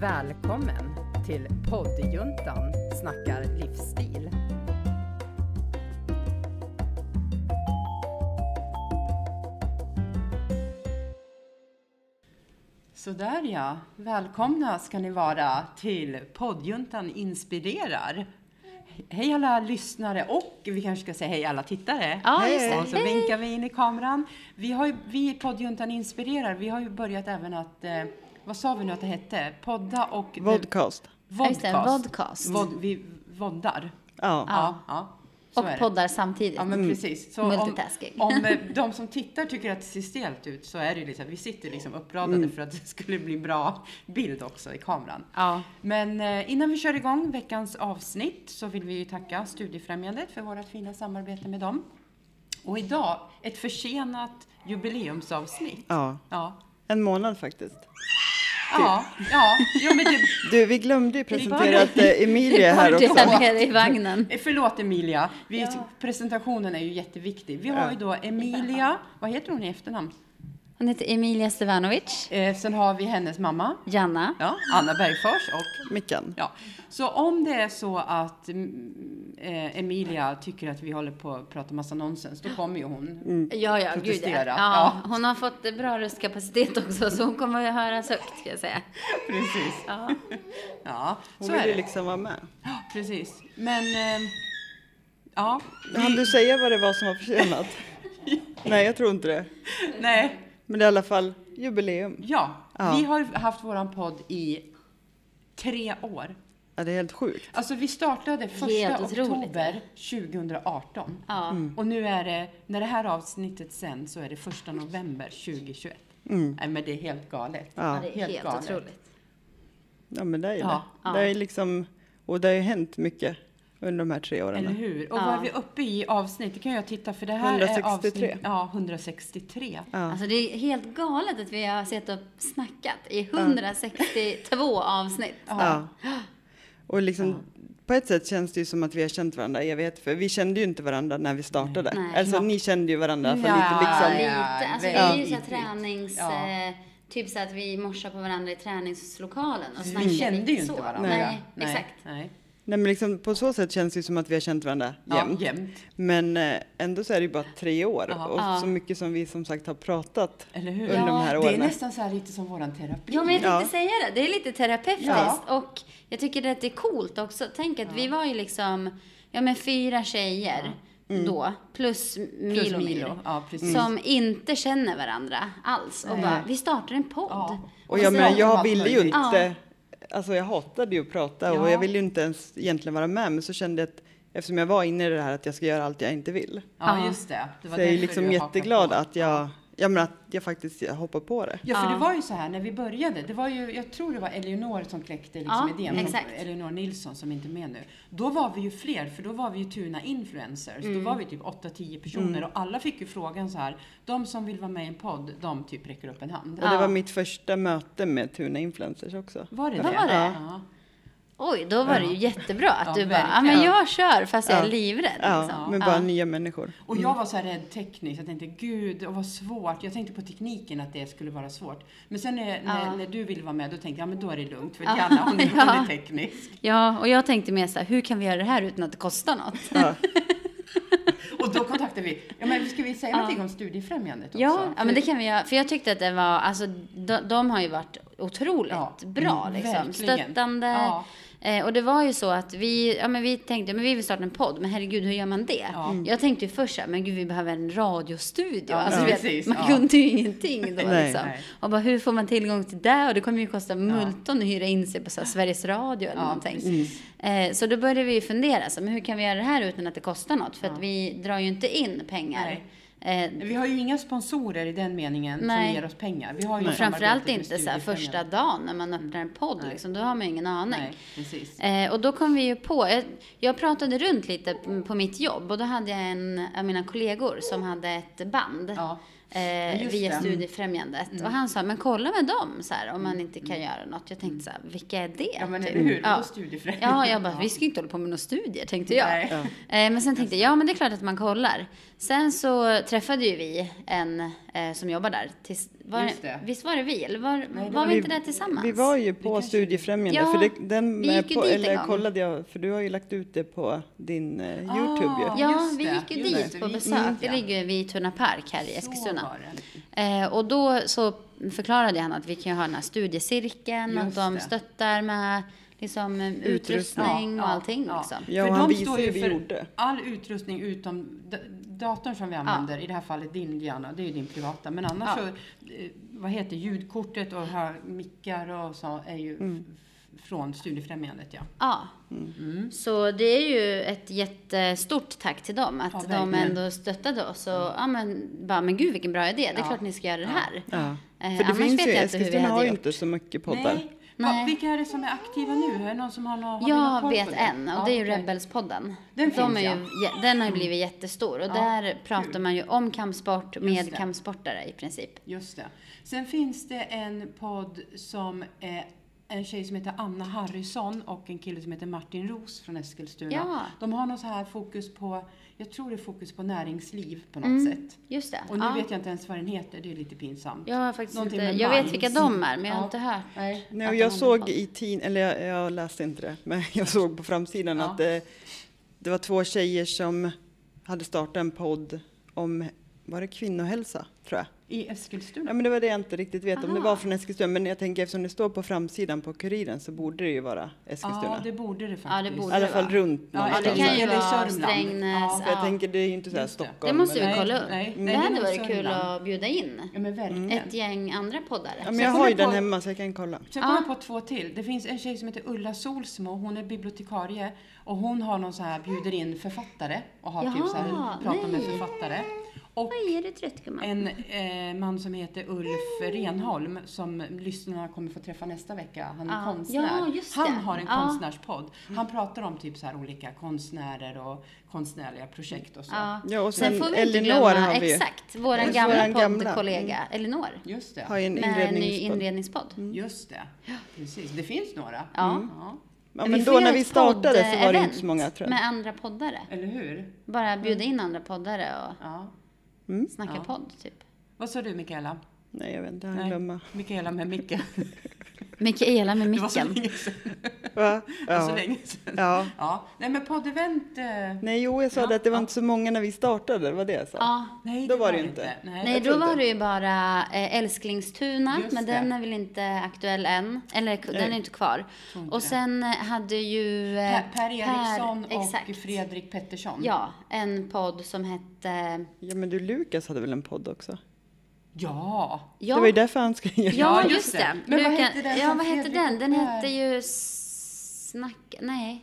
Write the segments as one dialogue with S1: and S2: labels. S1: Välkommen till poddjuntan snackar livsstil. Sådär ja, välkomna ska ni vara till poddjuntan inspirerar. Hej alla lyssnare och vi kanske ska säga hej alla tittare.
S2: Ja, just det.
S1: Och så vinkar vi in i kameran. Vi, har ju, vi i poddjuntan inspirerar, vi har ju börjat även att, eh, vad sa vi nu att det hette? Podda och... eh,
S3: Vodcast.
S2: Ja, just det,
S1: Vodcast.
S2: vodcast.
S1: Vod, vi voddar.
S3: Ja.
S1: Ja. ja. Så är
S2: Och
S1: det.
S2: poddar samtidigt.
S1: Ja, men precis. Så om,
S2: Mm. Multitasking.
S1: om eh, de som tittar tycker att det ser stelt ut så är det ju liksom, vi sitter liksom uppradade
S2: Mm.
S1: för att det skulle bli bra bild också i kameran.
S2: Ja.
S1: Men eh, innan vi kör igång veckans avsnitt så vill vi ju tacka Studiefrämjandet för vårt fina samarbete med dem. Och idag, ett försenat jubileumsavsnitt.
S3: ja.
S1: Ja.
S3: En månad faktiskt.
S1: Ja, ja, jo, men det,
S3: Du, vi glömde ju presentera att eh, Emilie är här
S2: Party
S3: också.
S2: här nere i vagnen.
S1: Eh, Förlåt Emilia, vi, presentationen är ju jätteviktig. Vi har ju då Emilia, vad heter hon i efternamn?
S2: Hon heter Emilia Stevanovic,
S1: Eh, sen har vi hennes mamma,
S2: Janna.
S1: ja, Anna Bergfors och
S3: Mickan.
S1: Ja, så om det är så att mm, eh, Emilia tycker att vi håller på att prata massa nonsens, då kommer ju hon.
S2: Ja, ja, gud ja.
S1: Mm. Protestera.
S2: ja. Hon har fått bra röstkapacitet också, så hon kommer att höras högt, ska jag säga.
S1: Precis.
S2: Ja.
S1: Ja,
S3: Hon
S1: så
S3: vill
S1: är
S3: ju
S1: det.
S3: liksom vara med.
S1: Ja, Precis. Men, eh, ja.
S3: Hann du säga vad det var som var försenat? Nej, jag tror inte det.
S1: Nej,
S3: Men det är i alla fall jubileum.
S1: ja.
S3: Ja.
S1: Vi har haft våran podd i tre år.
S3: Ja, det är helt sjukt.
S1: Alltså vi startade första
S2: Helt otroligt.
S1: oktober 2018.
S2: Ja.
S1: Och nu är det, när det här avsnittet sänds så är det första november 2021. Nej men det är helt galet.
S2: ja,
S3: Ja,
S2: det är helt,
S1: galet.
S2: otroligt.
S3: ja men det är ju
S1: Ja,
S3: det. Det är liksom, och det har ju hänt mycket under de här tre
S1: Eller
S3: åren.
S1: hur? Och vad är vi uppe i i avsnitt? Det kan jag titta för det här är
S3: 163.
S1: avsnitt... Ja, 163.
S3: Ja.
S2: Alltså det är helt galet att vi har sett och snackat i 162 avsnitt.
S3: Ja. Och liksom, på ett sätt känns det ju som att vi har känt varandra i evighet, för vi kände ju inte varandra när vi startade.
S2: Nej.
S3: alltså, ni kände ju varandra för
S1: Ja.
S3: lite liksom.
S1: Ja,
S2: Lite, alltså det
S1: Ja.
S2: är ju så här
S1: väldigt.
S2: tränings...
S1: Ja.
S2: Eh, typ så att vi morsar på varandra i träningslokalen och snackar
S1: Vi kände ju
S2: lite
S1: inte
S2: så.
S1: varandra.
S2: Nej, exakt.
S1: Nej.
S3: Nej, men liksom, på så sätt känns det ju som att vi har känt varandra
S1: Ja,
S3: jämt.
S1: jämt.
S3: Men eh, ändå så är det ju bara tre år
S1: Ja.
S3: och så mycket som vi som sagt har pratat
S1: Eller hur?
S3: under de
S1: det
S3: här
S1: är
S3: åren.
S1: nästan så här lite som våran terapi.
S2: Ja, men jag tänkte
S3: Ja.
S2: säga det. Det är lite terapeutiskt
S1: Ja.
S2: och jag tycker att det är coolt också. Tänk att vi var ju liksom, ja men fyra tjejer då, plus Milo, Mm.
S1: Plus Milo.
S2: Milo
S1: Ja, precis.
S2: som inte känner varandra alls och
S1: Nej.
S2: bara, vi startar en podd.
S1: Ja.
S3: Och
S1: Och
S3: jag
S1: så
S3: menar,
S1: har de
S3: jag
S1: allt
S3: ville ju
S1: möjligt.
S3: inte... Alltså jag hatade ju att prata
S1: Ja.
S3: och jag ville ju inte ens egentligen vara med. Men så kände jag att eftersom jag var inne i det här att jag ska göra allt jag inte vill.
S1: Ja,
S2: Ja.
S1: just det. det
S3: Så jag är ju
S1: därför
S3: liksom
S1: du hakade
S3: jätteglad
S1: på.
S3: att jag, jag, menar, att jag faktiskt hoppar på det.
S1: Ja, för
S2: Ja.
S1: det var ju så här när vi började. Det var ju, jag tror det var Eleonor som kläckte liksom
S2: Ja,
S1: idén. som-
S2: exakt.
S1: Eleonor Nilsson som inte är med nu. Då var vi ju fler, för då var vi ju Tuna influencers.
S2: Mm.
S1: Då var vi typ 8-10 personer och alla fick ju frågan så här. De som vill vara med i en podd, de typ räcker upp en hand.
S3: Och det var mitt första möte med Tuna Influencers också.
S1: Var det
S2: Vad var det?
S1: Ja.
S2: Oj, då var det ju jättebra att
S1: Ja,
S2: du bara, ja
S1: verkligen.
S2: men jag kör fast jag är
S3: Ja.
S2: livrädd.
S3: Ja,
S2: liksom.
S3: med bara nya människor.
S1: Och
S2: Mm.
S1: jag var så här rädd tekniskt. Jag tänkte, gud, och vad svårt. Jag tänkte på tekniken, att det skulle vara svårt. Men sen när, när, när du ville vara med, då tänkte jag, ja men då är det lugnt. För Janna, hon, är- hon
S2: Ja.
S1: är teknisk.
S2: Ja, och jag tänkte mer så här, hur kan vi göra det här utan att det kostar något?
S3: Ja.
S1: Och då kontaktade vi. Ja, men ska vi säga någonting om Studiefrämjandet också?
S2: Ja, ja, men det kan vi göra. För jag tyckte att det var, alltså de, de har ju varit otroligt
S1: Ja,
S2: bra
S1: mm,
S2: liksom.
S1: verkligen.
S2: Stöttande.
S1: Ja.
S2: Eh, och det var ju så att vi, ja men vi tänkte, men vi vill starta en podd, men herregud hur gör man det?
S1: Ja. Mm.
S2: Jag tänkte ju först så här, men gud vi behöver en radiostudio.
S1: Ja,
S2: alltså, du
S1: precis,
S2: vet, man
S1: ja.
S2: kunde ju ingenting då
S3: Nej.
S2: liksom.
S1: Nej.
S2: Och bara hur får man tillgång till det? Och det kommer ju kosta multon att hyra in sig på så här, Sveriges Radio eller
S1: Ja, Mm.
S2: någonting. Eh, så då började vi ju fundera, så, här, men hur kan vi göra det här utan att det kostar något? För att vi drar ju inte in pengar. Eh,
S1: Vi har ju inga sponsorer i den meningen
S2: Nej.
S1: som ger oss pengar. Vi har ju
S2: Och framförallt
S1: samarbetet med
S2: inte så här
S1: Studiefrämjandet.
S2: första dagen när man öppnar en podd. Liksom, då har man ju ingen aning.
S1: Nej, precis.
S2: Eh, och då kom vi ju på, jag, jag pratade runt lite p- på mitt jobb och då hade jag en av mina kollegor som hade ett band
S1: Ja.
S2: eh,
S1: just
S2: via
S1: det. Mm.
S2: Studiefrämjandet. Och han sa, men kolla med dem så här, om man inte kan göra något. Jag tänkte så här, vilka är det?
S1: Ja, men
S2: Typ.
S1: eller hur?
S2: Ja.
S1: Då Studiefrämjandet.
S2: Ja, jag bara, vi ska ju inte hålla på med några studier, tänkte jag.
S1: Nej. Ja.
S2: Eh, Men sen tänkte jag, ja men det är klart att man kollar. Sen så träffade ju vi en eh, som jobbar där. Tills, var,
S1: Just det.
S2: Visst var det vi? Eller var,
S1: det
S2: var,
S1: var-
S2: vi inte
S3: Vi-
S2: där tillsammans?
S3: Vi var ju
S1: Det
S3: på
S1: kanske-
S3: Studiefrämjande,
S2: Ja,
S3: för det, den
S2: vi gick ju
S3: på,
S2: dit en
S3: eller
S2: gång.
S3: kollade jag, för du har ju lagt ut det på din eh,
S1: Ah,
S3: Youtube ju.
S2: Ja,
S1: Just
S2: vi
S1: det,
S2: gick ju
S1: just
S2: dit
S1: det,
S2: på
S1: vi gick
S2: besök.
S1: dit,
S2: Det
S1: ja.
S2: ligger ju vid Tuna Park här i
S1: Så
S2: Eskilstuna.
S1: var det.
S2: Eh, och då så förklarade han att vi kan ju ha den här studiecirkeln,
S1: Just
S2: att de
S1: det.
S2: stöttar med liksom, eh, utrustning
S1: Ja,
S2: och
S1: ja,
S2: allting.
S1: ja.
S2: Liksom.
S3: Ja,
S1: För
S3: och han
S1: de
S3: visade
S1: står
S3: hur
S1: ju
S3: vi
S1: för-
S3: gjorde.
S1: All utrustning utom d- datorn som vi använder, i det här fallet din Diana, det är ju din privata. Men annars
S2: Ja.
S1: så, eh, vad heter ljudkortet och här, mickar och så är ju
S3: Mm.
S1: f- från Studiefrämjandet ja.
S2: Ja.
S1: Mm-hmm.
S2: Så det är ju ett jättestort tack till dem att
S1: Ja,
S2: de
S1: verkligen.
S2: ändå stöttade oss och ja, men, bara, men gud vilken bra idé, det är
S1: Ja.
S2: klart ni ska göra det här.
S3: Ja.
S2: Eh,
S3: För det
S2: annars
S3: finns
S2: vet
S3: ju,
S2: jag inte hur vi
S3: Eskilstuna har
S2: hade
S3: ju
S2: gjort.
S3: inte så mycket poddar.
S1: Nej.
S2: Nej.
S1: Va, vilka är det som är aktiva nu? Är det någon som har någon, har vi någon
S2: Jag
S1: koll
S2: vet
S1: på det?
S2: en och
S1: Ja,
S2: det är ju
S1: okej.
S2: Rebelspodden.
S1: Den
S2: de
S1: finns, Mm.
S2: är ju, ja, den har ju blivit jättestor och där pratar man ju om kampsport med
S1: det.
S2: kampsportare i princip.
S1: Just det. Sen finns det en podd som är en tjej som heter Anna Harrison och en kille som heter Martin Ros från Eskilstuna.
S2: Ja.
S1: De har något så här fokus på, jag tror det är fokus på näringsliv på något sätt.
S2: Just det.
S1: Och nu
S2: Mm. ja.
S1: vet jag inte ens vad den heter, det är lite pinsamt.
S2: Jag har faktiskt
S1: Någonting
S2: inte,
S1: med
S2: jag
S1: Minds.
S2: vet vilka de är men jag har
S1: Ja.
S2: inte hört. Nej,
S3: Nej, och jag såg i tid, eller jag, jag läste inte det, men jag såg på framsidan
S1: Ja.
S3: att det, det var två tjejer som hade startat en podd om, var det kvinnohälsa tror jag?
S1: I Eskilstuna?
S3: Ja, men det var det jag inte riktigt vet om det
S2: Aha.
S3: var från Eskilstuna, men jag tänker eftersom det står på framsidan på Kuriren så borde det ju vara Eskilstuna.
S1: Ja, det borde det
S2: Ja, det
S1: faktiskt.
S3: I
S2: borde
S3: alla fall
S2: vara.
S3: runt
S1: Ja,
S2: Ja, det
S3: någonstans.
S1: Eller-
S2: kan ju
S1: eller
S2: vara
S1: Sörmland.
S2: Strängnäs.
S1: Ja,
S3: För jag tänker det är ju inte så här
S1: Just det.
S2: det
S3: Stockholm.
S2: måste vi
S1: Nej,
S2: kolla upp.
S1: nej,
S2: det
S1: nej, det
S2: hade
S1: var
S2: varit kul
S1: Sörmland.
S2: att bjuda in
S1: Ja, men verkligen.
S2: ett gäng andra poddare.
S3: Mm. Ja, men
S1: Så
S3: jag
S1: kommer
S3: har ju
S1: på-
S3: den hemma så jag kan kolla.
S1: Sen kom jag på två till. Det finns en tjej som heter Ulla Solsmo. Hon är bibliotekarie och hon har någon så här, bjuder in författare och har typ så
S2: Jaha,
S1: här, pratar med
S2: nej.
S1: författare. Och
S2: Oj, är du trött gumman?
S1: en eh, man som heter Ulf Renholm som lyssnarna kommer få träffa nästa vecka. Han är
S2: Ja.
S1: konstnär.
S2: Ah. Ja, just det. Ah.
S1: han har en
S2: Ja.
S1: konstnärspodd. Han pratar om typ så här olika konstnärer och konstnärliga projekt och så.
S2: Ja.
S3: Ja, och
S2: Sen
S3: sen
S2: får vi inte
S3: Elinor
S2: glömma,
S3: har vi ju.
S2: exakt, våran
S3: Våran
S2: gamla
S3: gamla.
S2: poddkollega Elinor.
S1: Just det.
S3: Har ju en
S2: Med en ny
S3: inredningspodd. Mm.
S2: inredningspodd.
S1: Just det. Precis. Det finns några. Mm.
S2: Ja.
S1: ja.
S3: Ja, men
S2: får
S3: då
S2: göra
S3: när vi
S2: ett
S3: startade så var det
S2: podd-event
S3: inte så många tror jag. Mm.
S2: Med andra poddare.
S1: Eller hur?
S2: Bara bjuda in andra poddare och
S1: Ja.
S2: snacka
S1: Ja.
S2: podd, typ.
S1: Vad sa du Mikaela?
S3: Nej, jag vet inte,
S1: Nej.
S3: han glömma.
S1: Mikaela med Micke.
S2: Mikaela med
S1: Det var så
S2: micken.
S1: länge sedan.
S3: Va?
S1: Det var så
S2: Alltså,
S3: Ja.
S1: länge sedan.
S3: ja. Mm.
S1: Ja. Nej men poddevent. eh,
S3: Nej, jo, jag sa
S1: Ja,
S3: det att det var
S1: ja.
S3: inte så många när vi startade, det var det jag sa.
S2: Ja.
S1: Nej,
S3: Då var det ju inte.
S1: Nej.
S2: Nej,
S3: jag
S2: då
S3: tror
S2: var
S3: inte.
S2: det ju bara eh, Älsklingstuna,
S1: Just
S2: men den
S1: det.
S2: är väl inte aktuell än. Eller k- den är inte kvar.
S1: tror inte
S2: Och
S1: det.
S2: sen eh, hade ju... eh,
S1: Per, per Eriksson och
S2: exakt.
S1: Fredrik Pettersson.
S2: Ja, en podd som hette...
S3: Ja, men du Lukas hade väl en podd också?
S1: Ja.
S2: Ja,
S3: Det var ju därför han skulle göra
S1: Ja,
S2: ja, just
S1: just
S2: det.
S1: det. Men vad
S2: Luka-
S1: hette den
S2: ja,
S1: som
S2: vad hette
S1: Fredrik
S2: den? Den
S1: och Per-
S2: hette ju... Snack... Nej.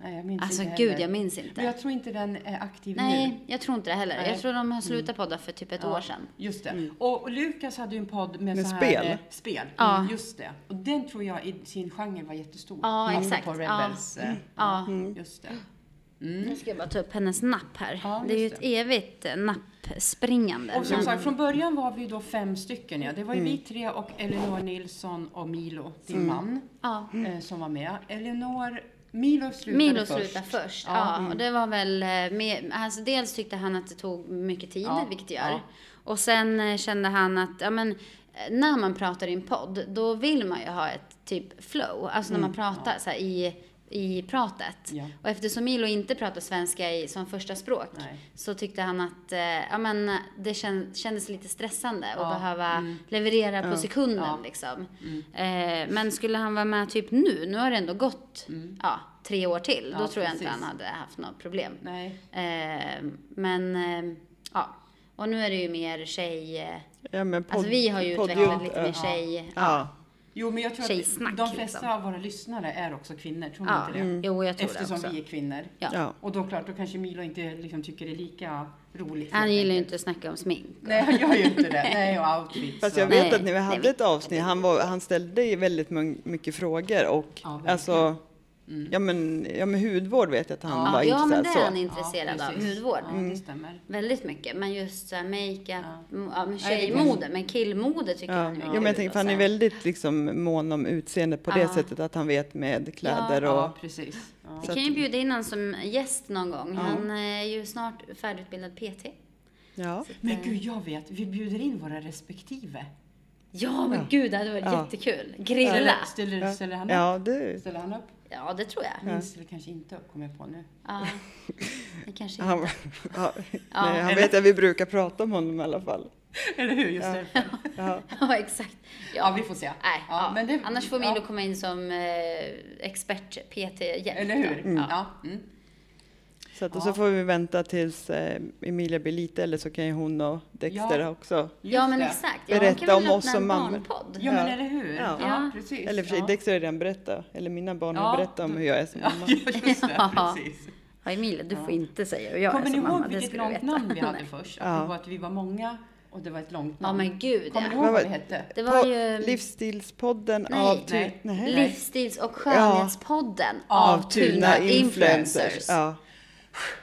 S1: Nej, jag minns
S2: Alltså
S1: inte heller.
S2: gud, jag minns inte.
S1: Men jag tror inte den är aktiv nu.
S2: Nej, jag tror inte det heller.
S1: Nej. Mm.
S2: Jag tror de har slutat podda för typ ett
S1: Ja,
S2: år sedan.
S1: Just det.
S2: Mm.
S1: Och och Lukas hade ju en podd med,
S3: Med
S1: så här,
S3: spel.
S1: eh, spel.
S2: Ja.
S1: Mm, Just det. Och den tror jag i sin genre var jättestor.
S2: Ja,
S1: Apropå
S2: exakt. Ja. Mm.
S1: Rebels. eh,
S2: Ja.
S1: Just det.
S2: Nu ska jag bara ta upp hennes napp här.
S1: Mm. Ja,
S2: det är ju
S1: just
S2: ett evigt eh, nappspringande. Mm.
S1: Och som
S2: men-
S1: sagt, från början var vi ju då fem stycken. Ja. Det var ju
S3: Mm.
S1: vi tre och Elinor Nilsson och Milo, din man,
S2: ja.
S1: eh, som var med. Elinor, Milo slutade
S2: Milo
S1: först. mm.
S2: slutade först. Ja, och det var väl eh, med, alltså dels tyckte han att det tog mycket tid,
S1: Ja,
S2: vilket det gör.
S1: ja.
S2: Och sen eh, kände han att, ja men, eh, när man pratar i en podd, då vill man ju ha ett typ flow. Alltså när man pratar så här, i, i pratet.
S1: Mm, Ja.
S2: Och eftersom Milo inte pratar svenska i, som första språk
S1: Nej.
S2: så tyckte han att eh, ja, men, det kän, kändes lite stressande att
S1: Ja, mm.
S2: behöva leverera på sekunden.
S1: Ja. Mm.
S2: Liksom. Eh, men skulle han vara med typ nu, nu har det ändå gått ja, tre år till, då
S1: Mm. Ja,
S2: tror jag inte
S1: precis.
S2: han hade haft något problem.
S1: Nej.
S2: Eh, men eh, ja, och nu är det ju mer tjej... eh,
S3: Ja, men podd,
S2: Alltså vi har ju
S3: podd-
S2: utvecklat lite mer
S3: ja.
S2: tjej...
S3: Ja.
S1: Jo, men jag tror
S2: Tjejsnack,
S1: att de flesta
S2: liksom.
S1: av våra lyssnare är också kvinnor, tror ni
S2: Ja,
S1: inte det?
S2: jo jag tror det
S1: Eftersom
S2: också.
S1: vi är kvinnor.
S2: Ja.
S3: Ja.
S1: Och då klart, då kanske Milo inte liksom, tycker det är lika roligt.
S2: Han
S1: helt
S2: gillar ju
S1: enkelt.
S2: inte att snacka om smink.
S1: Nej, han gör ju inte det. Nej, och outfits.
S3: Fast
S1: och-
S3: jag vet
S2: Nej,
S3: att när vi
S2: nej,
S3: hade
S2: vi-
S3: ett avsnitt, han, var, han ställde ju väldigt mång- mycket frågor och
S1: Ja, verkligen.
S3: alltså, ja, men, ja men hudvård vet jag att han var
S2: Mm. Ja, ja men det
S3: intresserad
S2: är han
S3: så.
S2: intresserad av,
S1: precis.
S2: hudvård. Mm.
S1: Ja, det stämmer.
S2: Väldigt mycket, men just så här makeup,
S1: Ja.
S2: m- ja. men
S1: Nej, det
S2: tjejmode, men killmode tycker
S3: Ja.
S2: han ju är
S3: Ja, men jag
S2: kul
S3: tänker,
S2: och
S3: för han
S2: så
S3: är
S2: här.
S3: väldigt liksom, mån om utseende på det
S2: Ja.
S3: sättet att han vet med kläder och...
S1: Ja, precis. Ja.
S2: Vi
S3: så
S2: kan
S3: att-
S2: ju bjuda in honom som gäst någon gång. Han är ju snart färdigutbildad PT.
S3: Ja.
S2: Så att,
S1: Men
S2: eh,
S1: gud, jag vet. Vi bjuder in våra respektive.
S2: Ja, men
S3: Ja.
S2: gud, det hade varit
S3: Ja.
S2: jättekul. Grilla.
S1: Ställer, ställer,
S3: Ja.
S1: ställer han upp?
S3: Ja, du.
S1: Ställer han upp?
S2: Ja, det tror jag.
S1: Min ställer kanske inte upp, kommer jag på nu.
S2: Ja. Det kanske
S3: Han,
S2: inte. Ja.
S3: ja, nej, han vet att vi brukar prata om honom i alla fall.
S1: Eller hur? Just därför.
S3: Ja.
S2: Ja, exakt.
S1: Ja, vi får se.
S2: Nej, ja,
S1: men det-
S2: annars får vi
S1: ja.
S2: nog komma in som eh, expert-PT-hjälp.
S1: Eller
S2: då.
S1: hur?
S2: Ja.
S1: Ja. Mm.
S3: Så, att,
S1: Ja.
S3: och så får vi vänta tills eh, Emilia blir lite eller så kan ju hon och Dexter
S1: Ja.
S3: också.
S2: ja, men
S1: Just det.
S2: exakt.
S3: Berätta om oss som mammor.
S2: mammor.
S1: Ja, men
S3: Ja.
S1: eller hur?
S3: Ja.
S1: Ja,
S2: Ja.
S1: precis.
S3: Eller för sig,
S1: ja.
S3: Dexter har redan berättat, eller mina barn har
S1: Ja.
S3: berättat om hur jag är som
S1: Ja,
S3: mamma.
S1: just det.
S2: typ. Ja.
S1: Precis.
S2: Ja, Emilia, du får inte säga hur jag är
S1: Kommer ni
S2: som
S1: ihåg
S2: mamma. Det
S1: vilket
S2: skulle du
S1: långt
S2: veta.
S1: namn vi hade
S2: Nej.
S1: först?
S3: Ja.
S1: Att det var att vi var många och det var ett långt
S2: Ja,
S1: namn.
S2: men gud
S1: Kommer ni
S2: ja.
S1: ihåg
S3: Vad
S1: vad
S3: var-
S1: det hette?
S2: Det var
S3: Po-
S2: ju...
S3: Livsstilspodden
S2: Nej.
S3: av... Ty-
S1: Nej.
S3: Nej.
S2: Livsstils och skönhetspodden
S1: Av
S2: av Tuna Influencers. Ja.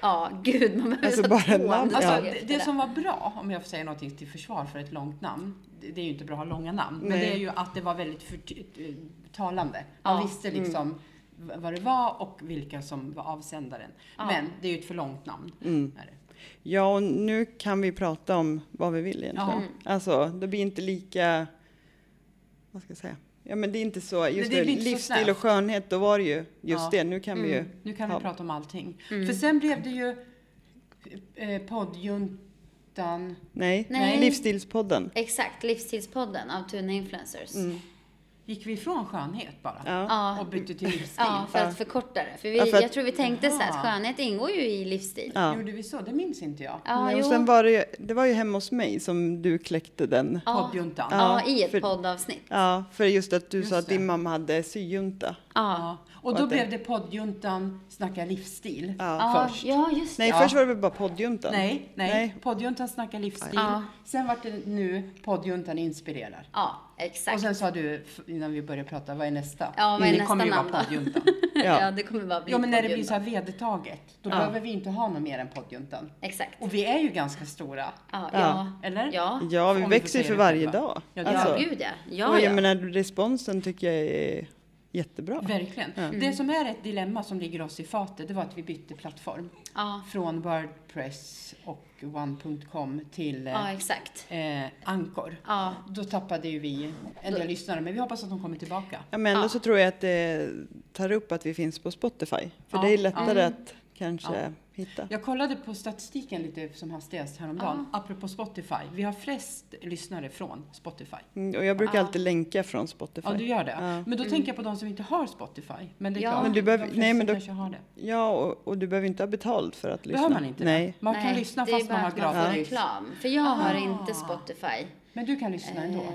S3: Ja.
S2: gud, man behöver
S3: Alltså,
S2: ta
S3: bara
S2: två
S3: namn.
S2: andetag
S3: Ja.
S1: Alltså,
S2: efter
S1: det, det som var bra, om jag får säga någonting till försvar för ett långt namn, det det är ju inte bra att ha långa namn, men
S3: Nej.
S1: det är ju att det var väldigt förty- eh, talande. Man
S2: Ja. Mm.
S1: visste liksom v- vad det var och vilka som var avsändaren.
S2: Ja.
S1: Men det är ju ett för långt namn.
S3: Mm.
S1: Är det.
S3: ja, och nu kan vi prata om vad vi vill egentligen.
S1: Ja. Mm.
S3: Alltså, det blir inte lika... Vad ska jag säga? Ja, men det är inte så... Just
S1: det
S3: det,
S1: blir inte så
S3: livsstil och
S1: snävt.
S3: skönhet, då var det ju just
S1: Ja. Mm.
S3: det. Nu kan vi ju...
S1: Nu kan
S3: Ja.
S1: vi prata om allting.
S2: Mm.
S1: För sen blev det ju eh, poddjuntan.
S3: Nej,
S2: Nej.
S3: livsstilspodden.
S2: Exakt, Livsstilspodden av Tuna Influencers.
S1: Gick vi ifrån skönhet bara?
S3: Ja.
S2: Ja.
S1: Och bytte till livsstil?
S2: Ja, för att förkorta det. För vi,
S3: Ja, för att-
S2: jag tror vi tänkte så här, att
S1: Aha.
S2: skönhet ingår ju i livsstil. Ja,
S3: Ja.
S1: Gjorde vi så? Det minns inte jag.
S3: Nej,
S2: jo.
S3: och sen var det, ju- det var ju hemma hos mig som du kläckte den.
S2: Ja.
S1: Poddjuntan.
S2: ja, i ett
S3: för-
S2: poddavsnitt.
S3: Ja, för just att du
S1: Just
S3: sa att
S1: det.
S3: din mamma hade syjunta.
S2: Ja.
S1: Ja. Och
S3: Och
S1: då
S3: att det-
S1: blev det poddjuntan snacka livsstil
S2: Ja,
S1: först.
S2: ja, just det.
S3: Nej,
S1: Ja.
S3: först var det väl bara poddjuntan?
S1: Nej, nej.
S3: Nej.
S1: Poddjuntan snackar livsstil.
S2: Ja.
S1: Sen vart det nu poddjuntan inspirerar.
S2: Ja,
S1: Och
S2: exakt.
S1: sen sa du f- innan vi började prata, vad är nästa? Mm.
S2: Ja, vad är
S1: det
S2: nästa
S1: kommer ju
S2: namn
S1: vara
S2: då?
S1: poddjuntan.
S2: ja.
S3: Ja.
S2: det kommer bara bli
S1: Jo men när det blir så
S2: poddjuntan.
S1: här vedertaget, då
S3: Ja.
S1: behöver vi inte ha något mer än poddjuntan.
S2: Exakt.
S1: Och vi är ju ganska stora.
S2: Ja,
S3: Ja.
S2: ja.
S1: Eller?
S2: Ja,
S3: Ja,
S1: Om
S3: vi
S1: vi får
S3: växer
S1: säga
S3: ju för
S1: det
S3: varje
S1: själva.
S3: dag.
S1: Ja, det
S2: ja,
S1: gör
S3: alltså,
S2: gud ja.
S3: och
S2: Ja,
S3: jag
S2: ja.
S3: menar, responsen tycker jag är jättebra.
S1: Verkligen. Det som är ett dilemma som ligger oss i fatet, det var att vi bytte plattform.
S2: Ja,
S1: Från Wordpress och one.com till
S2: ja
S1: eh,
S2: exakt.
S1: eh, Anchor.
S2: Ja,
S1: Då tappade ju vi en del lyssnare, men vi hoppas att de kommer tillbaka.
S3: Ja, men ändå
S2: Ja.
S3: så tror jag att det tar upp att vi finns på Spotify. För
S1: Ja,
S3: det är lättare
S2: ja.
S3: att kanske
S1: Ja.
S3: hitta.
S1: Jag kollade på statistiken lite som hastigast häromdagen, apropå Spotify. Vi har flest lyssnare från Spotify.
S3: Mm, Och jag brukar
S2: Ja.
S3: alltid länka från Spotify.
S1: Ja, du gör det.
S3: Ja.
S1: Men då tänker jag på de som inte har Spotify. Men det är
S2: Mm. Ja.
S1: klart,
S2: Men
S3: du behöver-
S1: de flesta
S3: nej, men då-
S1: kanske har det.
S3: Ja, och, och du behöver inte ha betalt för att lyssna.
S1: Behöver man inte
S3: Nej.
S1: det? Man kan
S2: nej,
S1: lyssna
S2: det är
S1: fast man
S2: bara
S1: har
S2: att får
S1: gratis.
S2: reklam. För jag har
S1: Ah.
S2: inte Spotify.
S1: Men du kan lyssna ändå.
S2: Eh,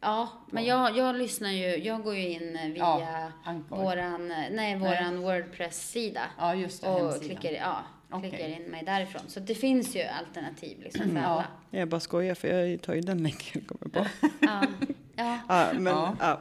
S2: ja, men jag, jag lyssnar ju. Jag går ju in eh, via
S1: Ja, Anchor.
S2: våran, eh, nej, våran Wordpress-sida.
S1: Ja, just det.
S2: och
S1: hemsidan.
S2: klickar, ja,
S1: Okej. Mm,
S2: klickar in mig därifrån. Så det finns ju alternativ liksom för
S1: Ja.
S2: alla.
S3: Jag bara skojar för jag tar ju den länken jag kommer på.
S2: Ja. Ja.
S3: Ja, men,
S1: Ja.
S3: Ja.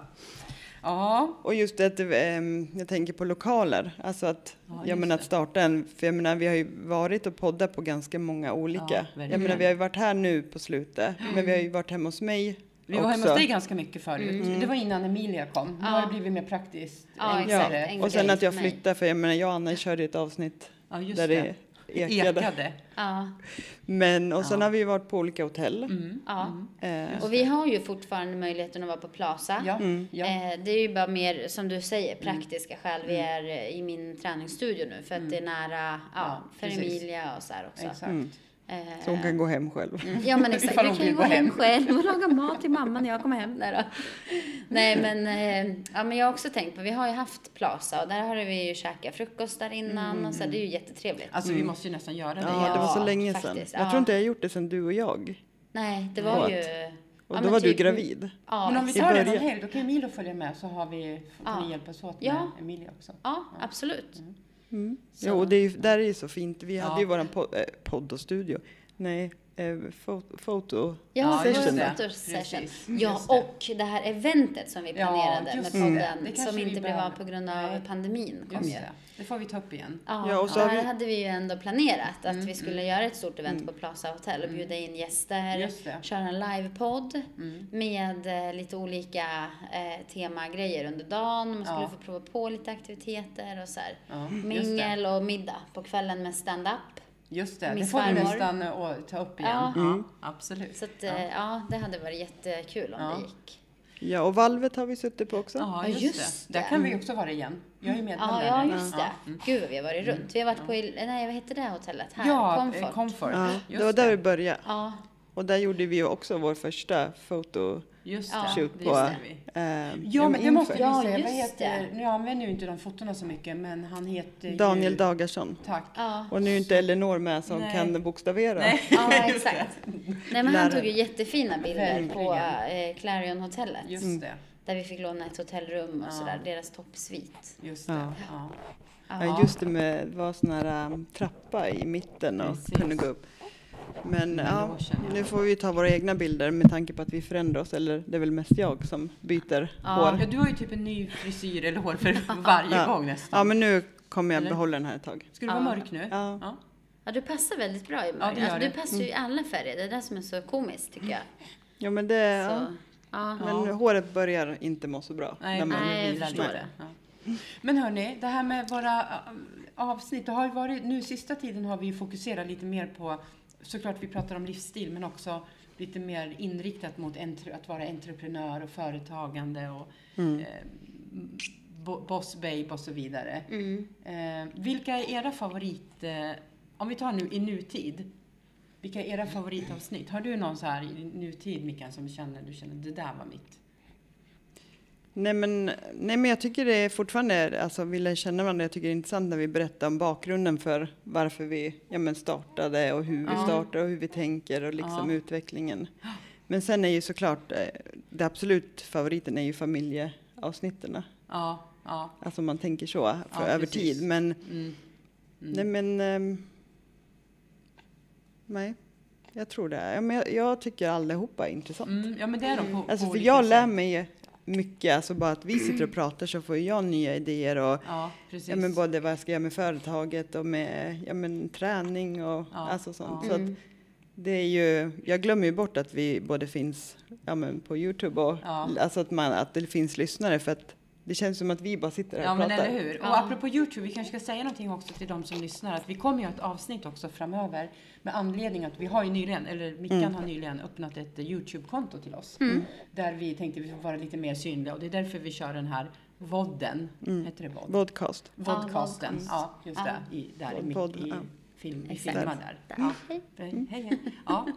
S1: Ja,
S3: Och just det att ehm, jag tänker på lokaler. Alltså att,
S1: Ja,
S3: jag
S1: just
S3: menar att
S1: det.
S3: starta en, för jag menar vi har ju varit och poddat på ganska många olika. jag
S1: verkligen.
S3: menar vi har ju varit här nu på slutet, men vi har ju varit hemma hos mig
S1: vi var
S3: också.
S1: hemma hos dig ganska mycket förut. Det var innan Emilia kom. Nu
S2: Mm. Ja.
S1: har det blivit mer praktiskt,
S2: Ja, exakt.
S1: enklare.
S2: En
S3: Och sen
S2: grej
S3: att jag
S2: för mig.
S3: flyttade, för jag menar jag och Anna körde ett avsnitt
S1: Ja, just
S3: där det,
S1: det.
S3: ekade.
S1: Ekade.
S2: Ja.
S3: Men, och sen har vi ju varit på olika hotell.
S1: Mm.
S2: ja.
S3: Eh,
S2: Mm. Och vi har ju fortfarande möjligheten att vara på Plaza.
S1: Ja,
S3: Mm.
S1: ja.
S2: Eh, Det är ju bara mer, som du säger, praktiska skäl. Vi är eh, i min träningsstudio nu för att det är nära, ja,
S1: Ja,
S2: för
S1: precis.
S2: Emilia och så här också.
S1: Exakt.
S3: Mm.
S2: Eh, mm.
S3: Så hon kan gå hem själv.
S2: Ja men exakt,
S1: Ifall
S2: jag
S1: hon
S2: kan ju
S1: vill
S2: gå
S1: gå
S2: hem
S1: hem.
S2: själv och laga mat till mamma när jag kommer hem. Nej, då. Nej men, eh, ja, men jag har också tänkt på, vi har ju haft Plaza och där har vi ju käkat frukost där innan och så här, det är ju jättetrevligt.
S1: Alltså vi måste ju nästan göra det.
S3: Mm. Ja, det var så
S2: Ja,
S3: länge sedan.
S2: faktiskt,
S3: Jag
S2: ja.
S3: tror inte jag har gjort det sedan du och jag.
S2: Nej, det var ju...
S3: Och
S2: ja,
S3: då
S2: men
S3: var
S2: typ-
S3: du gravid.
S2: Ja,
S1: Men om vi
S3: i
S1: tar det någon
S3: början.
S1: helg, då kan Emilio följa med så har vi, får
S2: Ja.
S1: ni hjälpas åt med
S2: Ja.
S1: Emilia också.
S2: ja absolut. Så.
S3: Mm. Jo, och det är ju, där är ju så fint. Vi
S1: Ja.
S3: hade ju våran po- eh, podd och studio. Nej, eh, fo- foto
S2: Ja,
S1: just
S3: session.
S2: session.
S1: det.
S2: session.
S1: Precis,
S2: Ja,
S1: just det.
S2: och det här eventet som vi
S1: Ja,
S2: planerade med
S1: just det.
S2: podden
S1: Det kanske
S2: som
S1: vi
S2: inte blev av
S1: behöver.
S2: på grund av
S1: Nej.
S2: pandemin kom
S1: Just
S2: ju.
S1: det. Det får vi ta upp igen.
S2: Ja,
S3: Ja, och så
S2: det
S3: har
S2: här
S3: vi-
S2: hade vi ju ändå planerat att
S1: Mm,
S2: vi skulle göra ett stort event på Plaza Hotel och bjuda in gäster,
S1: Just det. Mm.
S2: köra en livepodd med eh, lite olika eh, temagrejer under dagen. Man skulle
S1: Ja.
S2: få prova på lite aktiviteter och så här.
S1: Ja, just det.
S2: Mingel och middag på kvällen med stand-up.
S1: Just det,
S2: eh, Min
S1: det får vi
S2: svärmor.
S1: nästan eh, ta upp igen.
S2: Ja.
S1: Ja,
S3: Mm.
S1: absolut.
S2: Så att, eh, ja, det hade varit jättekul om
S1: Ja.
S2: det gick.
S3: Ja, och valvet har vi suttit på också.
S1: Ja, just,
S2: just
S1: det. Där
S2: det.
S1: kan vi också vara igen. Jag är medlem
S2: Ja,
S1: där
S2: ja
S1: nu.
S2: just det. Gud vad vi har varit runt. Vi har varit på, il- nej vad hette det hotellet? Här?
S1: Mm. Ja,
S2: Comfort.
S1: eh, comfort.
S3: Ja,
S1: Just
S3: det var där vi började.
S2: ja,
S3: Och där gjorde vi ju också vår första foto.
S1: Just
S2: Ja,
S1: det.
S3: shoot
S1: det
S3: på,
S1: gjorde vi.
S3: Eh,
S1: Ja, men det
S3: inför.
S1: måste vi
S2: Ja,
S1: säga. Vad
S2: just
S1: heter,
S2: det.
S1: nu använder ju inte de fotona så mycket, men han heter ju...
S3: Daniel Dagarsson.
S1: Tack.
S2: ja.
S3: Och nu är inte Elinor med som
S1: Nej.
S3: kan bokstavera.
S2: Ja, exakt. Nej, men han
S3: Lärare.
S2: tog ju jättefina bilder på
S1: Verkligen.
S2: eh, Clarion-hotellet.
S1: Just
S3: Mm.
S1: det.
S2: Där vi fick låna ett hotellrum och
S1: Ja.
S2: sådär, deras toppsvit.
S1: Just det. Ja.
S3: Ja, just det med, det var sån här um, trappa i mitten och
S1: Precis.
S3: kunde gå upp. Men
S1: Men
S3: ja,
S1: då känner jag-
S3: nu får vi ta våra egna bilder med tanke på att vi förändrar oss, eller det är väl mest jag som byter
S1: Ja.
S3: hår.
S1: du har ju typ en ny frisyr eller hår för varje
S3: Ja.
S1: gång nästan.
S3: Ja, men nu kommer jag
S1: Eller?
S3: behålla den här ett tag.
S1: Ska du vara mörk nu?
S3: Ja.
S2: Ja, du passar väldigt bra i mörker.
S1: Ja, det gör
S2: alltså,
S1: det.
S2: du
S1: Mm.
S2: passar ju i alla färger. Det är det som är så komiskt tycker jag.
S3: Ja, men det, ja.
S2: Så, ja.
S3: Men håret börjar inte må så bra.
S1: Nej,
S3: när man-
S2: Nej, jag
S1: vilar
S2: förstår
S1: lite.
S2: det.
S1: Ja. Men hörni, det här med våra äh, avsnitt. Det har ju varit, nu sista tiden har vi ju fokuserat lite mer på, såklart vi pratar om livsstil, men också lite mer inriktat mot entre, att vara entreprenör och företagande och
S3: Mm.
S1: eh, bo- boss babe och så vidare.
S2: Mm.
S1: Eh, vilka är era favorit, eh, om vi tar nu i nutid, vilka är era favoritavsnitt? Har du någon så här i nutid Mikael som känner, du känner det där var mitt?
S3: Nej men, nej men jag tycker det är fortfarande, alltså vill känna varandra, jag tycker det är intressant när vi berättar om bakgrunden för varför vi ja, men startade och hur vi
S1: Ja.
S3: startade och hur vi tänker och liksom
S1: Ja.
S3: utvecklingen. Men sen är ju såklart, eh, det absolut favoriten är ju familjeavsnitten.
S1: Ja, ja.
S3: Alltså om man tänker så, för
S1: Ja,
S3: över
S1: precis.
S3: tid. Men,
S1: Mm.
S3: nej men, ehm, nej, jag tror det. Är. Ja, men jag, jag tycker allihopa är intressant.
S1: Mm, ja men det är de på,
S3: Alltså
S1: på
S3: för
S1: olika
S3: jag lär
S1: sätt.
S3: mig mycket, alltså bara att vi sitter och pratar så får jag nya idéer och
S1: Ja, precis.
S3: ja, men både vad jag ska göra med företaget och med ja, men träning och
S1: Ja,
S3: alltså sånt.
S1: ja.
S3: Så
S2: Mm.
S3: att det är ju, jag glömmer ju bort att vi både finns ja, men på Youtube och
S1: Ja.
S3: alltså att, man, att det finns lyssnare för att det känns som att vi bara sitter här
S1: Ja
S3: och
S1: men
S3: pratar.
S1: eller hur. Och
S2: Ja.
S1: apropå Youtube, vi kanske ska säga någonting också till de som lyssnar att vi kommer ju ha ett avsnitt också framöver med anledning att vi har ju nyligen, eller Mickan
S3: Mm.
S1: har nyligen öppnat ett eh, Youtube-konto till oss. Där vi tänkte vi får vara lite mer synliga och det är därför vi kör den här vodden,
S3: Mm.
S1: heter det vodd?
S3: Podcast.
S1: Vodcasten, ja just
S2: Ja.
S1: det, i, där i,
S3: Podd,
S1: i, i
S3: ja.
S1: film, vi
S2: Exakt.
S1: filmar där.
S2: Där.
S1: Ja.
S2: Hej.
S1: Hej, hej. Ja,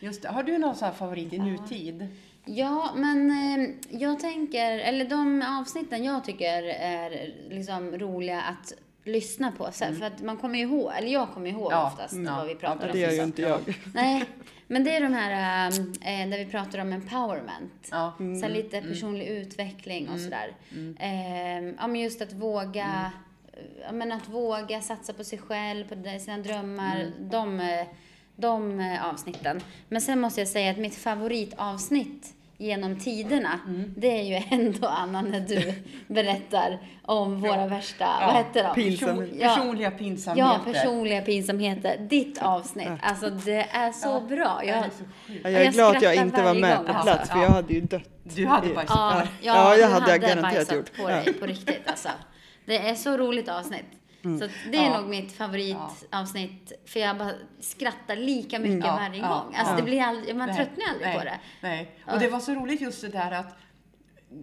S1: just det. Har du någon sån här favorit i nutid?
S2: Ja, men eh, jag tänker, eller de avsnitten jag tycker är liksom roliga att lyssna på. Så, För att man kommer ju ihåg, eller jag kommer ihåg
S1: Ja,
S2: oftast
S1: ja.
S2: vad vi pratar
S3: Mm. Ja,
S2: om.
S3: det gör ju
S2: Så-
S3: inte jag.
S2: Nej, men det är de här eh, där vi pratar om empowerment.
S1: Ja. Mm.
S2: Så
S3: Mm.
S2: här lite personlig utveckling och sådär. Eh, ja, men just att våga, ja, men att våga satsa på sig själv, på de- sina drömmar. De, eh, de eh, avsnitten. Men sen måste jag säga att mitt favoritavsnitt genom tiderna, det är ju ändå Anna när du berättar om våra värsta, vad hette de?
S3: Pinsamhet.
S1: Person,
S2: Ja.
S1: personliga
S2: Ja,
S1: pinsamheter.
S2: personliga pinsamheter. Ditt avsnitt. Alltså det är så bra. Jag,
S3: Ja, jag är glad att jag
S2: skrattar
S3: inte var
S2: varje
S3: med
S2: gång,
S3: på
S2: alltså.
S3: plats för jag hade ju dött.
S1: Du hade
S3: i-
S1: bajsat på
S2: Ja,
S1: dig.
S2: ja,
S3: Ja,
S2: du
S3: jag hade jag garanterat
S2: bajsat
S3: gjort.
S2: på dig på riktigt alltså. Det är så roligt avsnitt. Så att det är
S1: Ja.
S2: nog mitt favoritavsnitt för jag bara skrattar lika mycket
S1: Ja,
S2: varje
S1: ja,
S2: gång. Alltså
S1: ja.
S2: det blir aldrig, man
S1: Nej,
S2: tröttnar aldrig
S1: nej,
S2: på det.
S1: Nej. Och det var så roligt just det där att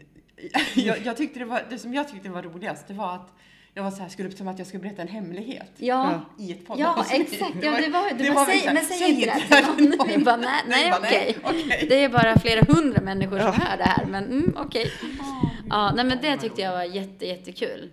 S1: jag, jag tyckte det, var, det som jag tyckte var roligast, det var att jag var så här, skulle som att jag skulle berätta en hemlighet
S2: Ja.
S1: i ett
S2: Ja,
S1: poddavsnitt.
S2: exakt. Ja, det var, det
S1: det
S2: var,
S1: var
S2: säg,
S1: exakt,
S2: men säg,
S1: säg
S2: inte det
S1: inte
S2: här
S1: det här
S2: till
S1: till
S2: någon. Vi
S1: någon.
S2: bara, nej,
S1: Nej,
S2: nej,
S1: bara,
S2: okej.
S1: nej, okej.
S2: Det är bara flera hundra människor som hör det här, men mm, okej. Ja, nej, men det tyckte jag var jätte, jättekul.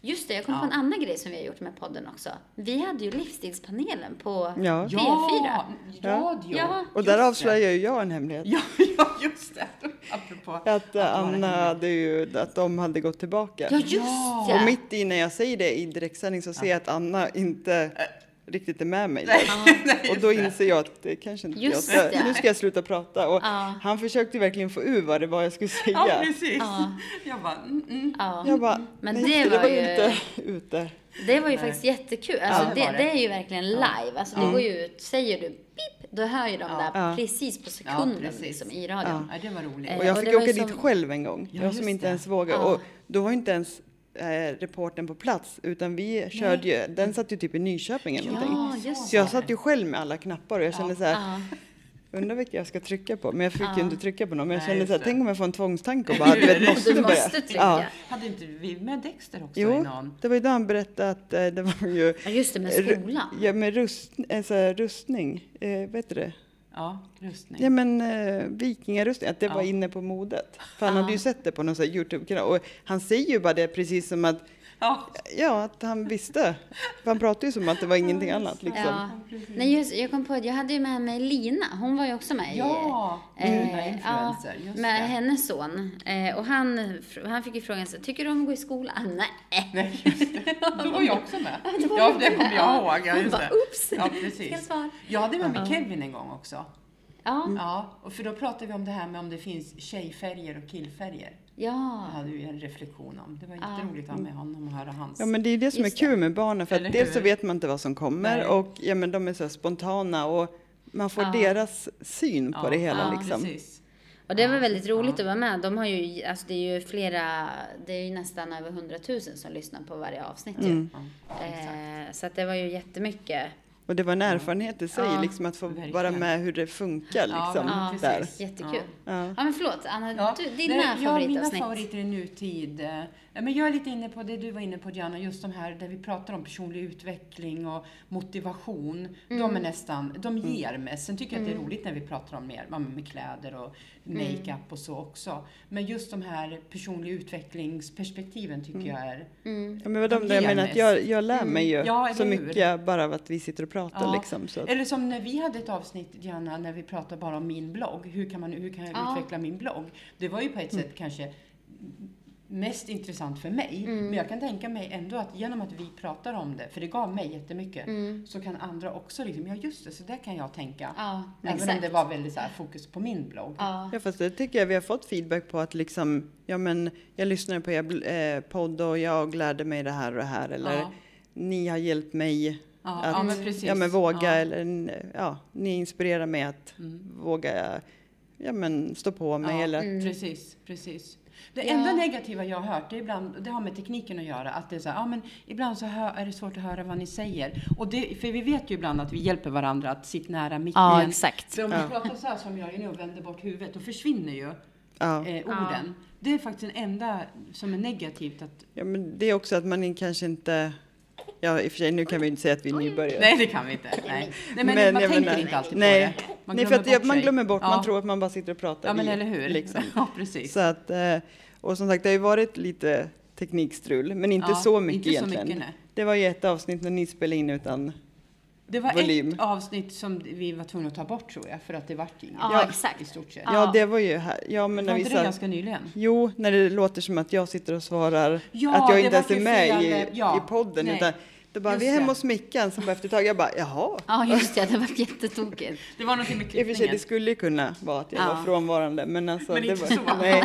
S2: Just det, jag kom på en annan grej som vi har gjort med podden också. Vi hade ju livsstilspanelen på
S3: Ja.
S2: P4.
S1: Ja, radio.
S2: Ja.
S3: Och där
S1: Just det.
S3: avslöjar ju jag en hemlighet.
S1: Ja, ja, just det. Apropå
S3: Att
S1: vara
S3: eh, Anna
S1: hemlig.
S3: hade ju, att de hade gått tillbaka.
S2: Ja, just
S1: Ja.
S2: ja.
S3: Och mitt i när jag säger det i direktsändning så ser jag att Anna inte
S2: Äh.
S3: riktigt är med mig. där. och då inser jag att det kanske inte jag
S2: Just
S3: ska,
S2: det.
S3: Nu ska jag sluta prata. Och
S2: Ja.
S3: Han försökte ju verkligen få ur vad det var jag skulle säga.
S1: Ja, precis.
S2: Ja.
S1: Jag bara, mm, mm.
S2: Ja.
S3: Jag bara,
S2: Men
S3: nej,
S2: det
S3: det
S2: var
S3: var
S2: ju- Eh,
S3: inte ute.
S2: Det var ju faktiskt jättekul. Alltså,
S1: Ja, det
S2: det,
S1: var
S2: det.
S1: det.
S2: är ju verkligen live. Alltså, det går ju ut, säger du pip, då hör ju de där
S3: Ja.
S2: precis på sekunden
S1: precis.
S2: liksom, i radion.
S1: Ja, det var roligt.
S2: Eh,
S3: Och jag
S2: och
S3: fick
S2: det var ju
S3: åka dit
S2: som-
S3: själv en gång. jag
S1: just
S3: som inte
S1: det.
S3: ens vågade.
S2: Ja.
S3: Och då var ju inte ens eh, reporten på plats utan vi körde ju, den satt ju typ i Nyköping eller någonting.
S2: Ja, just
S3: Så jag satt ju själv med alla knappar och jag kände så här,
S2: Ja.
S3: undrar vilka jag ska trycka på. Men jag fick ju inte trycka på någon. Men jag
S1: Nej,
S3: kände
S1: just
S3: så här,
S1: det.
S3: tänk om jag får en tvångstanke och bara, du vet, måste
S2: Du
S3: börja.
S2: måste trycka.
S3: Ja.
S1: Hade inte vi med Dexter också i
S3: Jo,
S1: någon?
S3: det var ju då han berättade att eh, det var ju
S2: Ja, just det, med
S3: Ru-
S2: skolan.
S3: Ja, med rust, alltså, rustning. Eh, vet du det?
S1: Ja, rustning.
S3: Ja, men eh, vikingarustning. Att det var
S1: Ja.
S3: inne på modet. För han hade ju sett det på någon sån här Youtube-kanal. Och han säger ju bara det precis som att,
S1: Ja.
S3: ja, att han visste. För han pratar ju som att det var ingenting annat liksom.
S2: Ja. Nej, just, jag kom på att jag hade ju med mig Lina. Hon var ju också med i-
S1: Ja, Lina influencer,
S2: Eh, ja,
S1: just
S2: med
S1: det.
S2: hennes son. Eh, och han, han fick ju frågan så här, tycker du om att gå i skolan? Nej.
S1: Nej, just det. Då var jag också med.
S2: Ja, då var
S1: Ja,
S2: du
S1: det
S2: med.
S1: kommer
S2: Ja.
S1: jag ihåg. Ja,
S2: Hon
S1: just
S2: bara,
S1: det.
S2: "Oops,
S1: Ja,
S2: ska jag
S1: precis.
S2: svara?"
S1: Jag hade med mig Kevin en gång också.
S3: Mm.
S2: Ja,
S1: Ja, och för då pratade vi om det här med om det finns tjejfärger och killfärger. Det
S2: ja.
S1: hade vi en reflektion om. Det var jätteroligt att ha med honom och höra hans.
S3: Ja men det är ju det som
S2: Just
S3: är kul med barnen för
S1: Eller
S3: att dels så
S1: hur?
S3: vet man inte vad som kommer
S1: Nej.
S3: och ja, men de är så här spontana och man får
S2: Ja.
S3: deras syn på
S1: Ja,
S3: det hela
S1: ja,
S3: liksom.
S1: Precis.
S2: Och det var väldigt roligt att vara med. De har ju, alltså det är ju flera, det är ju nästan över 100 000 som lyssnar på varje avsnitt ju.
S1: Ja,
S2: Eh, så att det var ju jättemycket,
S3: Och det var en erfarenhet i sig
S2: Ja,
S3: liksom att få
S1: Mm. verkligen.
S3: vara med hur det funkar
S1: Ja,
S3: liksom.
S1: men precis.
S3: där.
S2: jättekul. Ja.
S3: Ja.
S2: men förlåt Anna,
S1: Ja,
S2: du, dina
S1: nej, ja, mina
S2: favoritavsnitt.
S1: favoriter i nutid. eh, Men jag är lite inne på det du var inne på Diana, just de här där vi pratar om personlig utveckling och motivation. De är nästan, de
S3: Mm.
S1: ger mig. Sen tycker jag att det är roligt när vi pratar om mer, ja, men med kläder och makeup och så också. Men just de här personlig utvecklingsperspektiven tycker
S3: Mm.
S1: jag är
S2: Mm.
S3: Ja, men vad de,
S1: De
S3: jag
S1: ger
S3: menar att
S1: mest.
S3: jag, jag lär mig ju
S1: Mm. Ja, eller
S3: så
S1: hur?
S3: mycket bara av att vi sitter och pratar
S1: Ja.
S3: liksom. Så att,
S1: Eller som när vi hade ett avsnitt, Diana, när vi pratade bara om min blogg. Hur kan, man, hur kan jag
S2: Ja. Mm.
S1: utveckla min blogg? Det var ju på ett sätt kanske mest intressant för mig.
S2: Mm.
S1: Men jag kan tänka mig ändå att genom att vi pratar om det, för det gav mig jättemycket,
S2: Mm.
S1: så kan andra också liksom, ja just det, så där kan jag tänka.
S2: Ja,
S1: Även om
S2: exakt.
S1: det var väldigt så här, fokus på min blogg.
S2: Ja,
S3: ja, fast det tycker jag vi har fått feedback på att liksom, ja men jag lyssnade på er bl- eh, podd och jag lärde mig det här och det här eller
S1: Ja.
S3: ni har hjälpt mig
S1: Ja,
S3: att
S1: ja, men precis.
S3: ja, men våga
S1: Ja. Mm.
S3: eller n- ja, ni inspirerar mig att våga ja, men stå på mig
S1: Ja,
S3: eller att,
S2: Mm.
S1: Precis, precis. Det
S2: Ja.
S1: enda negativa jag har hört, det, är ibland, det har med tekniken att göra, att det är så här, ja men ibland så hö- är det svårt att höra vad ni säger. Och det, för vi vet ju ibland att vi hjälper varandra att sitta nära micken.
S2: ja exakt.
S1: För om vi
S3: Ja.
S1: pratar så här som jag gör nu och vänder bort huvudet, då försvinner ju
S3: ja.
S1: eh, orden. Det är faktiskt den enda som är negativt att...
S3: ja, men det är också att man in- kanske inte Ja, i och för sig, nu kan vi ju inte säga att vi är nybörjare.
S1: Nej, det kan vi inte. Nej, nej men, man
S3: jag
S1: tänker
S3: menar-
S1: inte alltid
S3: nej,
S1: på det.
S3: nej, för att jag- man
S1: sig.
S3: glömmer bort.
S1: Ja.
S3: Man tror att man bara sitter och pratar.
S1: Ja, men
S3: i,
S1: eller hur.
S3: Liksom.
S1: Ja, precis.
S3: Så att, eh, och som sagt, det har ju varit lite teknikstrul, men inte
S1: Ja,
S3: så mycket
S1: inte så
S3: egentligen.
S1: mycket, nej.
S3: det var ju ett avsnitt när ni spelade in utan
S1: Det var
S3: volym.
S1: ett avsnitt som vi var tvungna att ta bort tror jag, för att det vart inget.
S2: Ja, exakt.
S1: I stort sett.
S2: Ja.
S3: Ja, det var ju här. Ja, men när
S1: Var
S3: vi
S1: inte det
S3: satt,
S1: ganska nyligen?
S3: Jo, när det låter som att jag sitter och svarar
S1: Ja,
S3: att jag
S1: det
S3: inte ens
S1: vart
S3: är
S1: ju
S3: med i,
S1: fel, ja.
S3: i podden.
S1: Nej.
S3: Utan då bara,
S1: Just
S3: vi är hemma
S1: det.
S3: hos Mickan. Sen bara efter ett tag, jag bara, jaha.
S2: Ja, just det, det var jättetokigt.
S1: Det var någonting med
S3: I och för sig, det
S1: klippningen.
S3: skulle ju kunna vara att jag
S2: Ja.
S3: var frånvarande. Men, alltså,
S1: Men
S3: det
S1: inte
S3: var,
S1: så.
S3: Nej,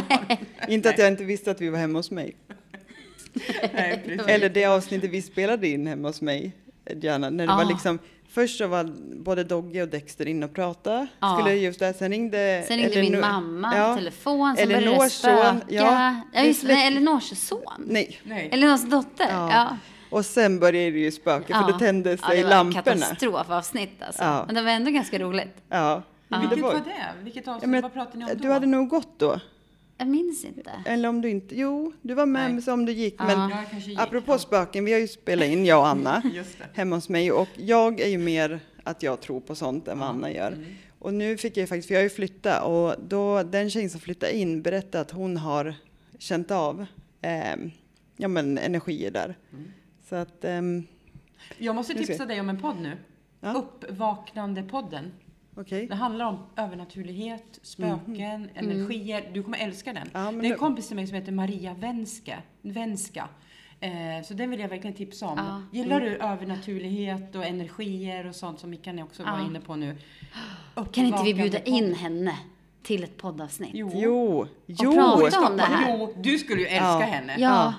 S3: inte att jag inte visste att vi var hemma hos mig.
S1: Nej, precis.
S3: Eller det avsnittet vi spelade in hemma hos mig, Diana, när det
S2: Ja.
S1: Ah.
S3: var liksom Först så var både Dogge och Dexter inne och pratade.
S1: Ah.
S2: Ja.
S3: Skulle just det, sen ringde...
S2: Sen ringde min
S3: Eh, Elinor-
S2: mamma på telefon, sen började det
S3: Elinors son,
S2: spöka. Ja,
S3: ja.
S2: just det,
S3: Det
S2: nej, Elinors son.
S3: Nej,
S1: Nej.
S2: Elinors dotter. Ja.
S3: Ja. Och sen började det ju spöka för
S1: Ah.
S3: då tände sig
S2: det var
S3: lamporna.
S2: katastrofavsnitt alltså.
S3: Ja.
S2: Men det var ändå ganska roligt.
S3: Ja.
S1: Ah.
S3: Men
S1: Vilket
S3: det
S1: var
S3: var-
S1: det? Vilket
S3: Ja,
S1: avsnitt?
S3: men,
S1: Vad pratade ni om då?
S3: Eh, du hade nog gått då.
S2: Jag minns inte.
S3: Eller om du inte, jo, du var med
S1: Nej.
S3: så om du gick.
S2: Ja.
S3: Men
S1: Ja, jag kanske gick.
S3: apropå spöken, vi har ju spelat in, jag och Anna,
S1: Just det.
S3: hemma hos mig. Och jag är ju mer att jag tror på sånt än vad Anna gör. Och nu fick jag ju faktiskt, för jag har ju flyttat och då den tjejen som flyttade in berättade att hon har känt av eh, ja, men energier där. Så att, ehm,
S1: Jag måste
S3: Nu ska
S1: tipsa dig om en podd nu.
S3: Ja.
S1: Uppvaknandepodden.
S3: okej.
S1: Det handlar om övernaturlighet,
S3: Mhm.
S1: spöken,
S3: Mm.
S1: energier. Du kommer älska den.
S3: Ja, men
S1: det är en
S3: det-
S1: kompis till mig som heter Maria Wenske, Wenska. Eh, så den vill jag verkligen tipsa om.
S2: Ja. mm.
S1: Gillar du övernaturlighet och energier och sånt som Mickan också var
S2: Ja.
S1: inne på nu?
S2: Kan inte vi bjuda
S1: Uppvaknandepodden.
S2: in henne till ett poddavsnitt?
S1: Jo.
S3: Jo, jo.
S2: prata om det här.
S1: Jo, du skulle ju älska
S3: Ja.
S1: henne.
S2: Ja.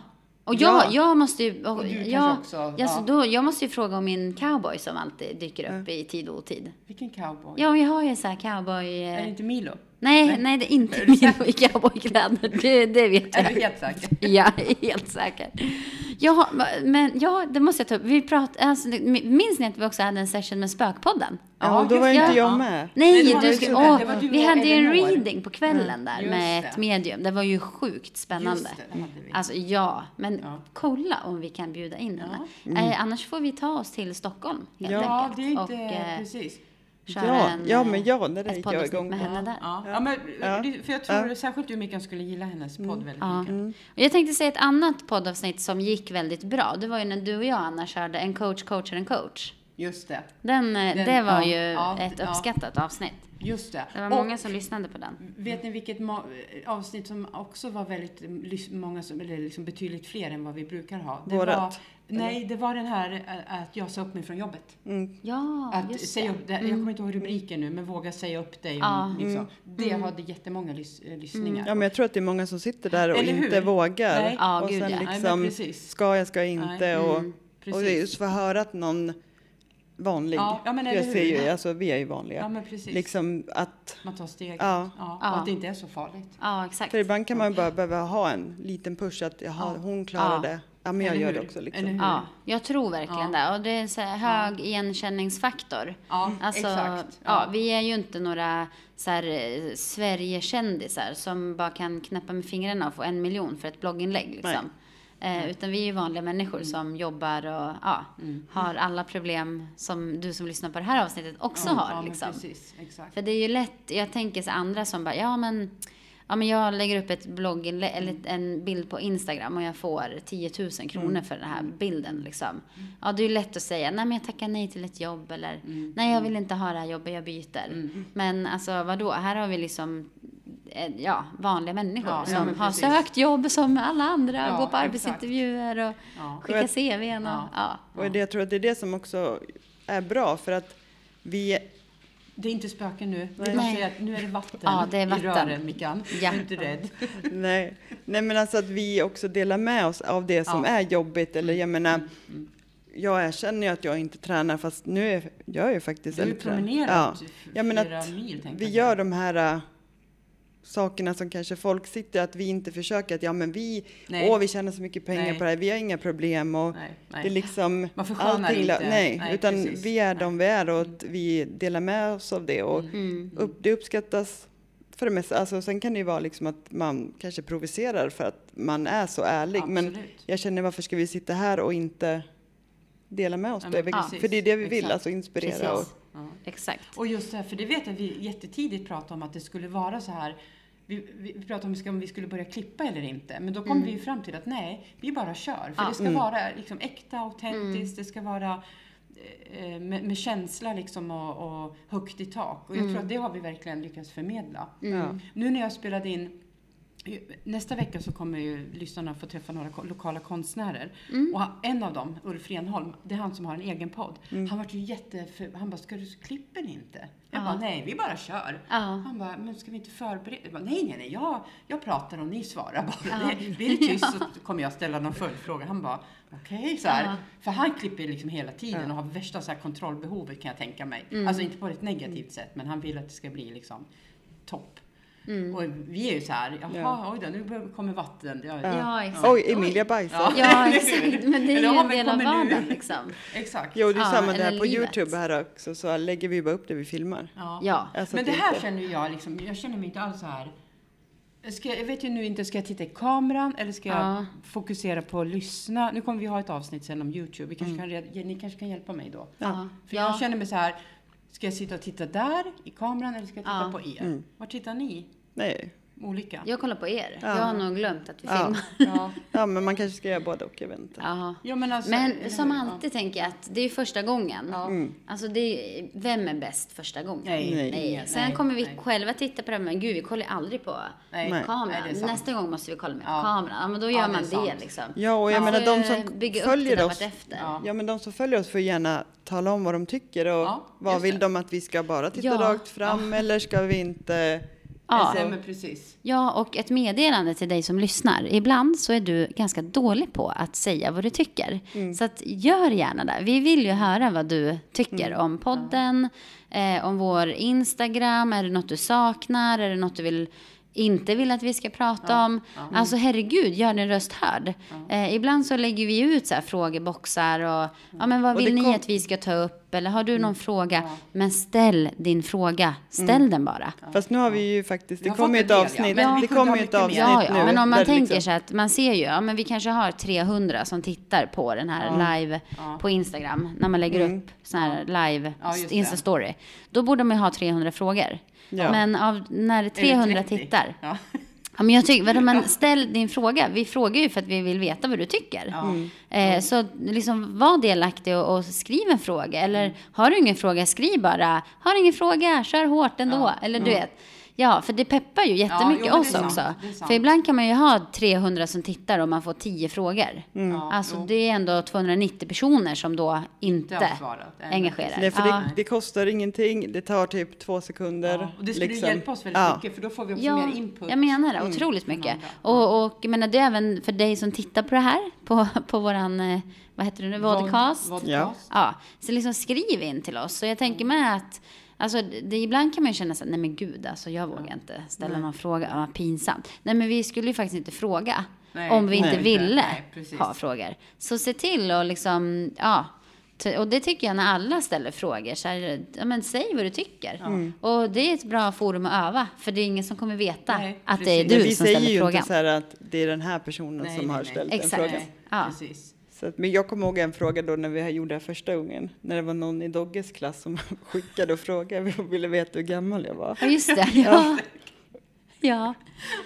S2: Och
S3: Ja.
S2: jag, jag måste ju... Och,
S1: Och du
S2: jag,
S1: kanske också?
S2: ja, så
S1: ja.
S2: då, jag måste ju fråga om min cowboy som alltid dyker upp i tid och otid.
S1: Vilken cowboy?
S2: Ja, jag har ju så här cowboy...
S1: Är det
S2: eh,
S1: inte Milo?
S2: Nej, nej, det är inte Milo i cowboykläder. Det, det vet
S1: Är
S2: jag.
S1: du helt säker?
S2: Ja, helt säker. Ja, men ja, det måste jag ta upp. Vi prat, alltså, minns ni att vi också hade en session med Spökpodden?
S1: Ja,
S3: Ja, då var
S2: just
S3: inte
S2: det.
S1: Ja.
S3: jag med.
S1: Nej, det
S2: Nej,
S1: var
S2: du
S1: just
S2: skulle,
S1: det.
S2: åh,
S1: Det var du
S2: vi
S1: och
S2: hade ju en
S1: Eleanor.
S2: reading på kvällen där
S1: just
S2: med
S1: det.
S2: ett medium. Det var ju sjukt spännande.
S1: Just det, det hade vi.
S2: Alltså ja, men
S1: Ja. Mm.
S2: kolla om vi kan bjuda in henne. Eh, annars får vi ta oss till Stockholm helt
S1: Ja, det
S2: enkelt.
S1: är inte...
S2: och eh,
S1: precis.
S2: köra
S3: Ja,
S2: en,
S3: ja, men ja, det
S2: eh,
S3: där
S2: ett
S3: gick jag
S2: poddavsnitt
S3: igång
S2: med
S3: på.
S2: henne där.
S1: Ja. Ja, men,
S3: Ja.
S1: det- För jag tror
S3: Ja.
S1: särskilt du Mikael skulle gilla hennes podd väldigt
S2: Mm. Ja.
S1: mycket.
S2: Och Jag tänkte säga ett annat poddavsnitt som gick väldigt bra. Det var ju när du och jag Anna körde En coach coachar en coach.
S1: Just det.
S2: Den, eh,
S1: Den-
S2: det var
S1: ja,
S2: ju
S1: ja,
S2: ett
S1: ja.
S2: uppskattat avsnitt.
S1: Just det.
S2: Det var
S1: Och-
S2: många som lyssnade på den.
S1: Vet ni vilket ma- avsnitt som också var väldigt eh, lys- många, som, eller liksom betydligt fler än vad vi brukar ha?
S3: Vårat,
S1: Var, nej, det var den här eh, att jag sa upp mig från jobbet.
S2: Ja,
S1: Att
S2: just
S1: säga
S2: det. Mm.
S1: upp, det, jag kommer inte ihåg rubriken nu, men våga säga upp dig. om-
S2: Ja. Mm.
S1: Liksom. Det hade jättemånga lys- eh, lyssningar.
S3: Mm. Ja, men jag tror att det är många som sitter där och
S1: Eller hur?
S3: inte vågar.
S1: Nej.
S2: Ja,
S3: och
S2: gud,
S3: sen
S2: ja. Nej,
S1: men
S3: liksom,
S1: precis.
S3: ska jag, ska jag inte?
S1: Nej, Mm,
S3: och,
S1: precis.
S3: och det är just för att höra att någon vanlig,
S1: Ja, ja, men
S3: för
S1: eller
S3: jag
S1: hur?
S3: ser ju, alltså vi är ju vanliga,
S1: Ja, men precis.
S3: liksom att,
S1: Man tar steget.
S3: Ja.
S1: Och
S2: Ja.
S1: att det inte är så farligt.
S2: Ja, exakt.
S3: för ibland kan man bara behöva ha en liten push att jaha, hon klarar
S2: Ja.
S3: det, ja men jag
S1: Eller
S3: gör
S1: hur?
S3: det också liksom.
S1: Eller hur?
S2: Ja, jag tror verkligen det. Och det är en så här hög igenkänningsfaktor.
S1: Ja,
S2: Alltså,
S1: exakt.
S2: Ja. vi är ju inte några så här, eh, Sverigekändisar som bara kan knäppa med fingrarna och få en miljon för ett blogginlägg. Liksom. Eh, utan vi är ju vanliga människor
S1: Mm.
S2: som jobbar och ja, har alla problem som du som lyssnar på det här avsnittet också har.
S1: ja, men
S2: liksom.
S1: precis. Exakt.
S2: För det är ju lätt, jag tänker så andra som bara, ja men, ja, men jag lägger upp ett blogginlägg eller ett- en bild på Instagram och jag får 10 000 kronor för den här bilden liksom. Ja, det är ju lätt att säga, nej men jag tackar nej till ett jobb eller, nej jag vill inte ha det här jobbet, jag byter. Men alltså vadå, här har vi liksom eh, Ja, vanliga människor
S1: Ja, ja,
S2: som
S1: men
S2: har
S1: precis.
S2: sökt jobb som alla andra,
S1: Ja,
S2: går på
S1: exakt.
S2: arbetsintervjuer och
S1: Ja.
S2: skickar CVn. Och,
S1: Ja.
S2: ja.
S3: Och det, jag tror att det är det som också är bra för att vi,
S1: Det är inte spöken nu. Vi
S3: Nej.
S1: måste säga att nu är det vatten,
S2: Ja, det är
S1: i
S2: vatten.
S1: rören, Mickan.
S2: Ja.
S1: Var inte rädd.
S3: nej, nej men alltså att vi också delar med oss av det som
S1: Ja. Mm,
S3: är jobbigt eller jag menar, jag erkänner ju att jag inte tränar fast nu är jag är ju faktiskt
S1: Du har ju
S3: väldigt tränad.
S1: promenerat
S3: Ja.
S1: f-
S3: Ja, men
S1: flera
S3: att
S1: mil. tänkte
S3: Vi
S1: jag.
S3: gör de här äh, sakerna som kanske folk sitter att vi inte försöker att ja men vi,
S1: Nej.
S3: åh vi tjänar så mycket pengar
S1: Nej.
S3: på det här, vi har inga problem och
S1: Nej,
S3: det
S1: nej.
S3: är liksom
S1: Man förskönar
S3: allting-
S1: inte.
S3: Nej,
S1: Nej,
S3: utan
S1: precis. Mm.
S3: vi är de vi är och att vi delar med oss av det och
S2: Mm.
S3: upp, det uppskattas för det mesta. Alltså, sen kan det ju vara liksom att man kanske provocerar för att man är så ärlig men
S1: Absolut.
S3: jag känner varför ska vi sitta här och inte dela med oss
S1: Ja,
S3: på det?
S1: men
S3: Vi-
S1: precis.
S3: För det är det vi vill,
S1: Exakt.
S3: alltså inspirera. Och,
S2: Precis. Exakt.
S1: Och just det här, för det vet jag vi jättetidigt pratade om att det skulle vara så här. Vi, vi vi pratade om vi ska- om vi skulle börja klippa eller inte, men då kom vi ju fram till att nej, vi bara kör. För
S2: Mm. Ja. mm.
S1: det ska vara liksom äkta, autentiskt, det ska vara eh, med, med känsla liksom och, och högt i tak.
S2: Mm.
S1: Och jag tror att det har vi verkligen lyckats förmedla.
S3: Ja.
S1: Nu när jag spelade in Nästa vecka så kommer ju lyssnarna få träffa några ko- lokala konstnärer. Och han- en av dem, Ulf Renholm, det är han som har en egen podd. Han var ju jätte... Han bara, ska du klipper ni inte? Jag
S2: Ja.
S1: bara, nej, vi bara kör.
S2: Ja.
S1: Han bara, men ska vi inte förbereda? Jag bara, nej, nej, nej, jag, jag pratar och ni svarar bara. Det- Blir det tyst så kommer jag ställa någon följdfråga. Han bara, okej, så här.
S2: Ja.
S1: För han klipper liksom hela tiden och har värsta så här kontrollbehovet kan jag tänka mig.
S3: Mm.
S1: Alltså inte på ett negativt sätt, men han vill att det ska bli liksom topp. Och vi är ju så här, jaha,
S3: Mm. Ja.
S1: oj då, nu bör- kommer vatten. Ja,
S3: Ja.
S2: Ja, exakt.
S3: Oj, Emilia bajsar.
S1: Ja.
S2: Ja,
S1: Eller
S2: exakt.
S1: hur?
S2: Men det är
S1: Eller
S2: ju
S1: har
S2: en
S1: vi
S2: del av
S1: kommit nu?
S2: varden liksom.
S1: Exakt.
S3: Jo, det är
S2: Ja,
S3: samma där
S2: eller
S3: på
S2: livet.
S3: Youtube här också, så lägger vi bara upp det vi filmar.
S1: Ja.
S2: Ja.
S3: Alltså
S1: men
S3: att
S1: det här
S3: inte-
S1: känner ju jag liksom, jag känner mig inte alls så här. Ska, jag jag vet ju nu inte, ska jag titta i kameran eller ska jag
S2: Ja.
S1: fokusera på att lyssna? Nu kommer vi ha ett avsnitt sen om Youtube, vi kanske kan, red- ni kanske kan hjälpa mig då.
S2: Ja.
S1: För jag
S2: Mm. Ja.
S1: känner mig så här, ska jag sitta och titta där i kameran eller ska jag titta
S2: Ja.
S1: på er?
S3: Mm.
S1: Var tittar ni?
S3: Nej.
S1: Olika?
S2: Jag kollar på er.
S3: Ja.
S2: Jag har nog glömt att vi
S3: Ja.
S2: filmar.
S1: Ja,
S3: Ja, men man kanske ska göra både och, jag vet inte.
S2: Ja.
S1: ja men alltså. eller
S2: Men som
S1: hur? Ja.
S2: alltid tänker jag att det är ju första gången.
S1: Ja.
S2: Alltså det är, ju- vem är bäst första gången?
S1: Nej,
S3: Nej.
S1: ingen,
S2: Sen
S1: nej,
S2: kommer vi
S1: nej.
S2: själva titta på det, men gud vi kollar ju aldrig på
S1: Nej.
S3: Nej,
S2: kameran.
S1: det är sant.
S2: Nästa gång måste vi kolla med på
S1: Ja.
S2: kameran. Ja, men då
S1: Ja,
S2: gör
S1: det är
S2: man det
S1: sant.
S2: liksom.
S3: Ja, och jag
S2: Man
S3: menar
S2: får
S3: de
S2: ju
S3: som
S2: bygga upp det
S3: följer
S2: där
S3: oss.
S2: vartefter.
S1: Ja.
S3: Ja, men de som följer oss får gärna tala om vad de tycker och
S1: Ja,
S3: vad
S1: just
S3: vill
S1: det.
S3: de att vi ska bara titta
S2: Ja.
S3: rakt fram eller ska vi inte Alltså,
S1: Ja.
S2: Ja.
S1: Nej, men precis.
S2: Ja, och ett meddelande till dig som lyssnar. Ibland så är du ganska dålig på att säga vad du tycker.
S3: Mm.
S2: Så att gör gärna det. Vi vill ju höra vad du tycker
S3: Mm.
S2: om podden, eh, om vår Instagram. Är det något du saknar? Är det något du vill, inte vill att vi ska prata om? Alltså herregud, gör din röst hörd. Eh, ibland så lägger vi ut så här frågeboxar och ja, men vad
S3: Och det
S2: vill ni
S3: kom- Mm.
S2: att vi ska ta upp? Eller har du någon fråga? Men ställ din fråga. Ställ den bara.
S3: Fast nu har vi ju faktiskt,
S1: Vi
S3: det
S1: har
S3: kommer ju
S1: fått
S3: ett
S1: en del, ja,
S3: avsnitt.
S1: men vi
S3: det
S1: kunde ha
S3: kommer ju ett
S1: mycket mer.
S3: avsnitt
S2: Ja, ja,
S3: nu.
S2: men om man
S3: där
S2: tänker
S3: liksom-
S2: så att man ser ju, ja men vi kanske har 300 som tittar på den här live på Instagram när man lägger upp sån här live
S1: Mm. Ja, just det.
S2: Insta-story. Då borde man ju ha 300 frågor.
S3: Ja.
S2: Men av, när det är 300
S1: 30?
S2: tittar.
S1: Ja.
S2: Ja, men jag tycker, vadå, men ställ din fråga. Vi frågar ju för att vi vill veta vad du tycker. Eh, så liksom var delaktig och, och skriv en fråga. Eller har du ingen fråga, skriv bara. Har ingen fråga, kör hårt ändå. Eller du vet. Ja, för det peppar ju
S1: Mm.
S2: jättemycket
S1: jo, men det är
S2: oss
S1: sant.
S2: också.
S1: Det är sant.
S2: För ibland kan man ju ha 300 som tittar och man får 10 frågor.
S1: Mm.
S3: Mm.
S1: Ja,
S2: alltså
S1: jo.
S2: det är ändå 290 personer som då inte,
S1: har svarat. Nej, men
S2: engagerar.
S3: Nej, för
S2: Ja.
S3: det, det kostar ingenting, det tar typ två sekunder.
S1: Ja, och det skulle
S3: liksom.
S1: hjälpa oss väldigt
S3: Ja.
S1: mycket för då får vi också
S2: Ja,
S1: mer input. Mm.
S2: jag menar det. Otroligt mycket. Och, och jag menar, det är även för dig som tittar på det här, på, på våran, eh, vad heter det nu, vodcast.
S1: Vad,
S3: Ja.
S2: Ja, så liksom skriv in till oss. Så jag tänker med att, alltså det, ibland kan man ju känna så här, nej men gud alltså jag vågar inte ställa någon fråga, ja, vad pinsamt. Nej men vi skulle ju faktiskt inte fråga
S1: Nej,
S2: om vi inte
S1: nej,
S2: ville
S1: nej, precis.
S2: ha frågor. Så se till och liksom, ja. t- Och det tycker jag när alla ställer frågor, så här, ja, men säg vad du tycker.
S3: Mm.
S2: Och det är ett bra forum att öva, för det är ingen som kommer veta
S1: Nej,
S2: att
S1: precis.
S2: det är
S3: Men
S2: du
S3: vi
S2: som
S3: säger
S2: ställer
S3: ju
S2: frågan.
S3: inte så här att det är den här personen som har ställt den
S2: Exakt.
S3: frågan.
S2: Nej. Ja.
S1: Precis.
S3: Så att, men jag kommer ihåg en fråga då när vi gjorde det här första gången. När det var någon i Dogges klass som skickade och frågade och ville veta hur gammal jag var.
S2: Ja, just det. Ja. Ja,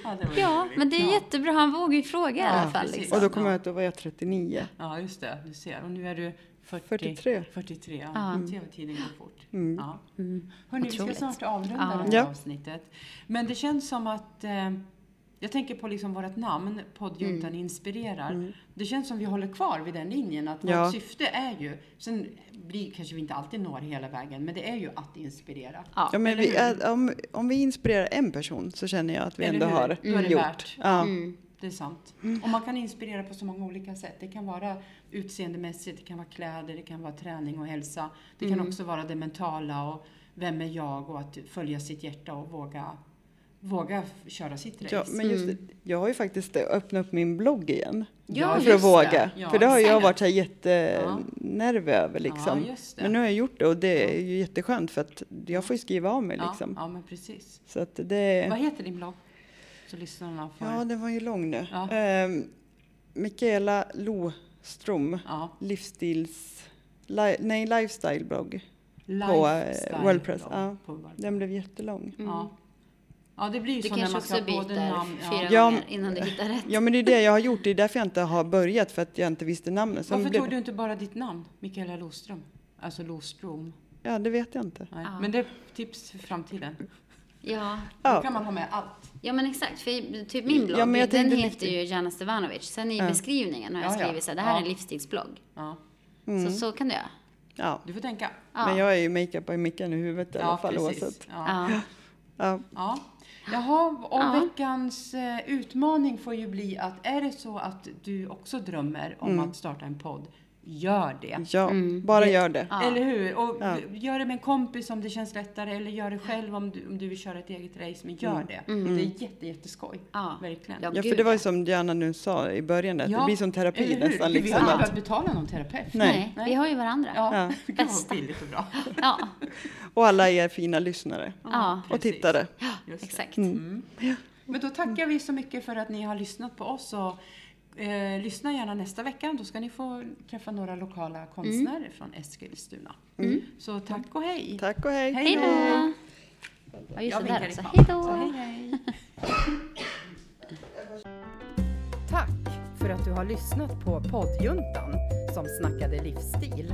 S1: Ja, det var
S2: ja,
S1: roligt.
S2: men det är jättebra. Han vågar ju fråga i alla fall.
S1: precis.
S2: Liksom.
S3: Och då kom jag att då var jag 39.
S1: Ja, just det. Du ser. Och nu är du 40,
S3: 43.
S1: 43, ja. Mm. Tv-tiden går fort. Ja. Hörrni, vi ska
S2: Otroligt.
S1: snart avrunda
S2: Ja.
S1: det här
S3: Mm. Ja.
S1: avsnittet. Men det känns som att eh, jag tänker på liksom vårt namn,
S3: Mm.
S1: poddjuntan inspirerar. Det känns som vi håller kvar vid den linjen, att
S3: Ja.
S1: vårt syfte är ju, sen blir, kanske vi inte alltid når hela vägen, men det är ju att inspirera.
S2: Ja.
S3: Ja, men
S1: eller
S3: vi,
S1: hur?
S3: är- om, om vi inspirerar en person så känner jag att vi
S1: Eller
S3: ändå
S1: hur?
S3: har
S1: Då är det
S3: gjort.
S1: värt. Mm,
S3: Ja.
S2: Mm.
S1: Det är sant. Och man kan inspirera på så många olika sätt. Det kan vara utseendemässigt, det kan vara kläder, det kan vara träning och hälsa. Det kan
S3: Mm.
S1: också vara det mentala och vem är jag och att följa sitt hjärta och våga, våga f- köra sitt race.
S3: Ja, men just det, jag har ju faktiskt öppnat upp min blogg igen.
S1: Mm. Ja,
S3: för att
S1: just det.
S3: våga.
S1: Ja,
S3: för det har jag
S1: exakt.
S3: varit så här jättenerv över liksom.
S1: Ja, just det.
S3: men nu har jag gjort det och det är ju jätteskönt för att jag får ju skriva av mig
S1: ja,
S3: liksom.
S1: ja, men precis.
S3: Så att det...
S1: Vad heter din blogg? Så lyssnarna får...
S3: Ja, den var ju lång nu.
S1: Ja.
S3: Ehm, Mikaela Lostrom,
S1: Ja.
S3: livsstils... Li, nej, lifestyle-blogg.
S1: Lifestyle
S3: eh, Wordpress,
S1: blogg
S3: ja. Mm.
S1: på Wordpress.
S3: Den blev jättelång.
S1: Ja. ja, det blir ju
S2: Du
S1: så när
S2: Mm. kanske
S1: man ska
S2: också byter
S1: både namn...
S2: fyra
S3: Ja,
S2: gånger
S3: men-
S2: innan du hittar rätt.
S3: Ja, men det är det jag har gjort. Det är därför jag inte har börjat, för att jag inte visste namnet. Sen
S1: Varför
S3: blev-
S1: tog du inte bara ditt namn? Mikaela Loström? Alltså Lostrom?
S3: Ja, det vet jag inte.
S1: Nej.
S2: Ja.
S1: Men det är tips för framtiden.
S2: Ja.
S1: Då
S3: Ja.
S1: kan man ha med allt.
S2: ja, men exakt. För typ min blogg,
S3: Ja, men jag
S2: den
S3: tänkte
S2: heter ju Jana Stevanovic. Sen i beskrivningen har jag
S1: Ja, ja.
S2: skrivit så här, det här är en
S1: Ja.
S2: livsstilsblogg.
S1: Ja.
S2: Så så kan du göra.
S3: mm. Ja.
S1: Du får tänka.
S2: Ja.
S3: Men jag är ju makeup i micken i huvudet i alla fall oavsett.
S1: Ja.
S2: Ja.
S3: Ja.
S1: Ja. Jaha, och
S2: Ja.
S1: veckans eh, utmaning får ju bli att är det så att du också drömmer om
S3: Mm.
S1: att starta en podd, gör det.
S3: Ja, bara gör det.
S1: Eller hur? Och Gör det med en kompis om det känns lättare eller gör det själv om du, om du vill köra ett eget race. Men
S3: Mm.
S1: gör det. Det är jätte, jätteskoj.
S2: Mm. Ja.
S1: Verkligen.
S2: Ja,
S3: Ja, för
S2: Gud,
S3: det var ju
S2: ja.
S3: som Diana nu sa i början, att
S1: Ja,
S3: det blir som terapi
S1: eller hur?
S3: nästan.
S1: Vi har
S3: Liksom,
S1: inte
S3: att,
S1: behövt betala någon terapeut.
S3: Nej.
S2: Nej. vi har ju varandra. Ja.
S1: Ja,
S3: Ja.
S1: Gud, vad
S2: Bästa.
S1: billigt och bra.
S2: Ja.
S3: och alla er fina lyssnare.
S2: Ja.
S3: Och
S1: Precis.
S3: tittare.
S1: Just det.
S2: Exakt.
S3: Mm.
S1: Men då tackar vi så mycket för att ni har lyssnat på oss. Och, eh, lyssna gärna nästa vecka. Då ska ni få träffa några lokala konstnärer
S2: Mm.
S1: från Eskilstuna. Så tack och hej!
S3: Tack och hej.
S2: Hej då! Ja, just
S1: Jag vinkar
S2: det där
S1: i
S2: också.
S1: kameran.
S2: alltså. Hej
S1: Så
S2: då!
S1: hej, hej.
S4: Tack för att du har lyssnat på poddjuntan som snackade livsstil.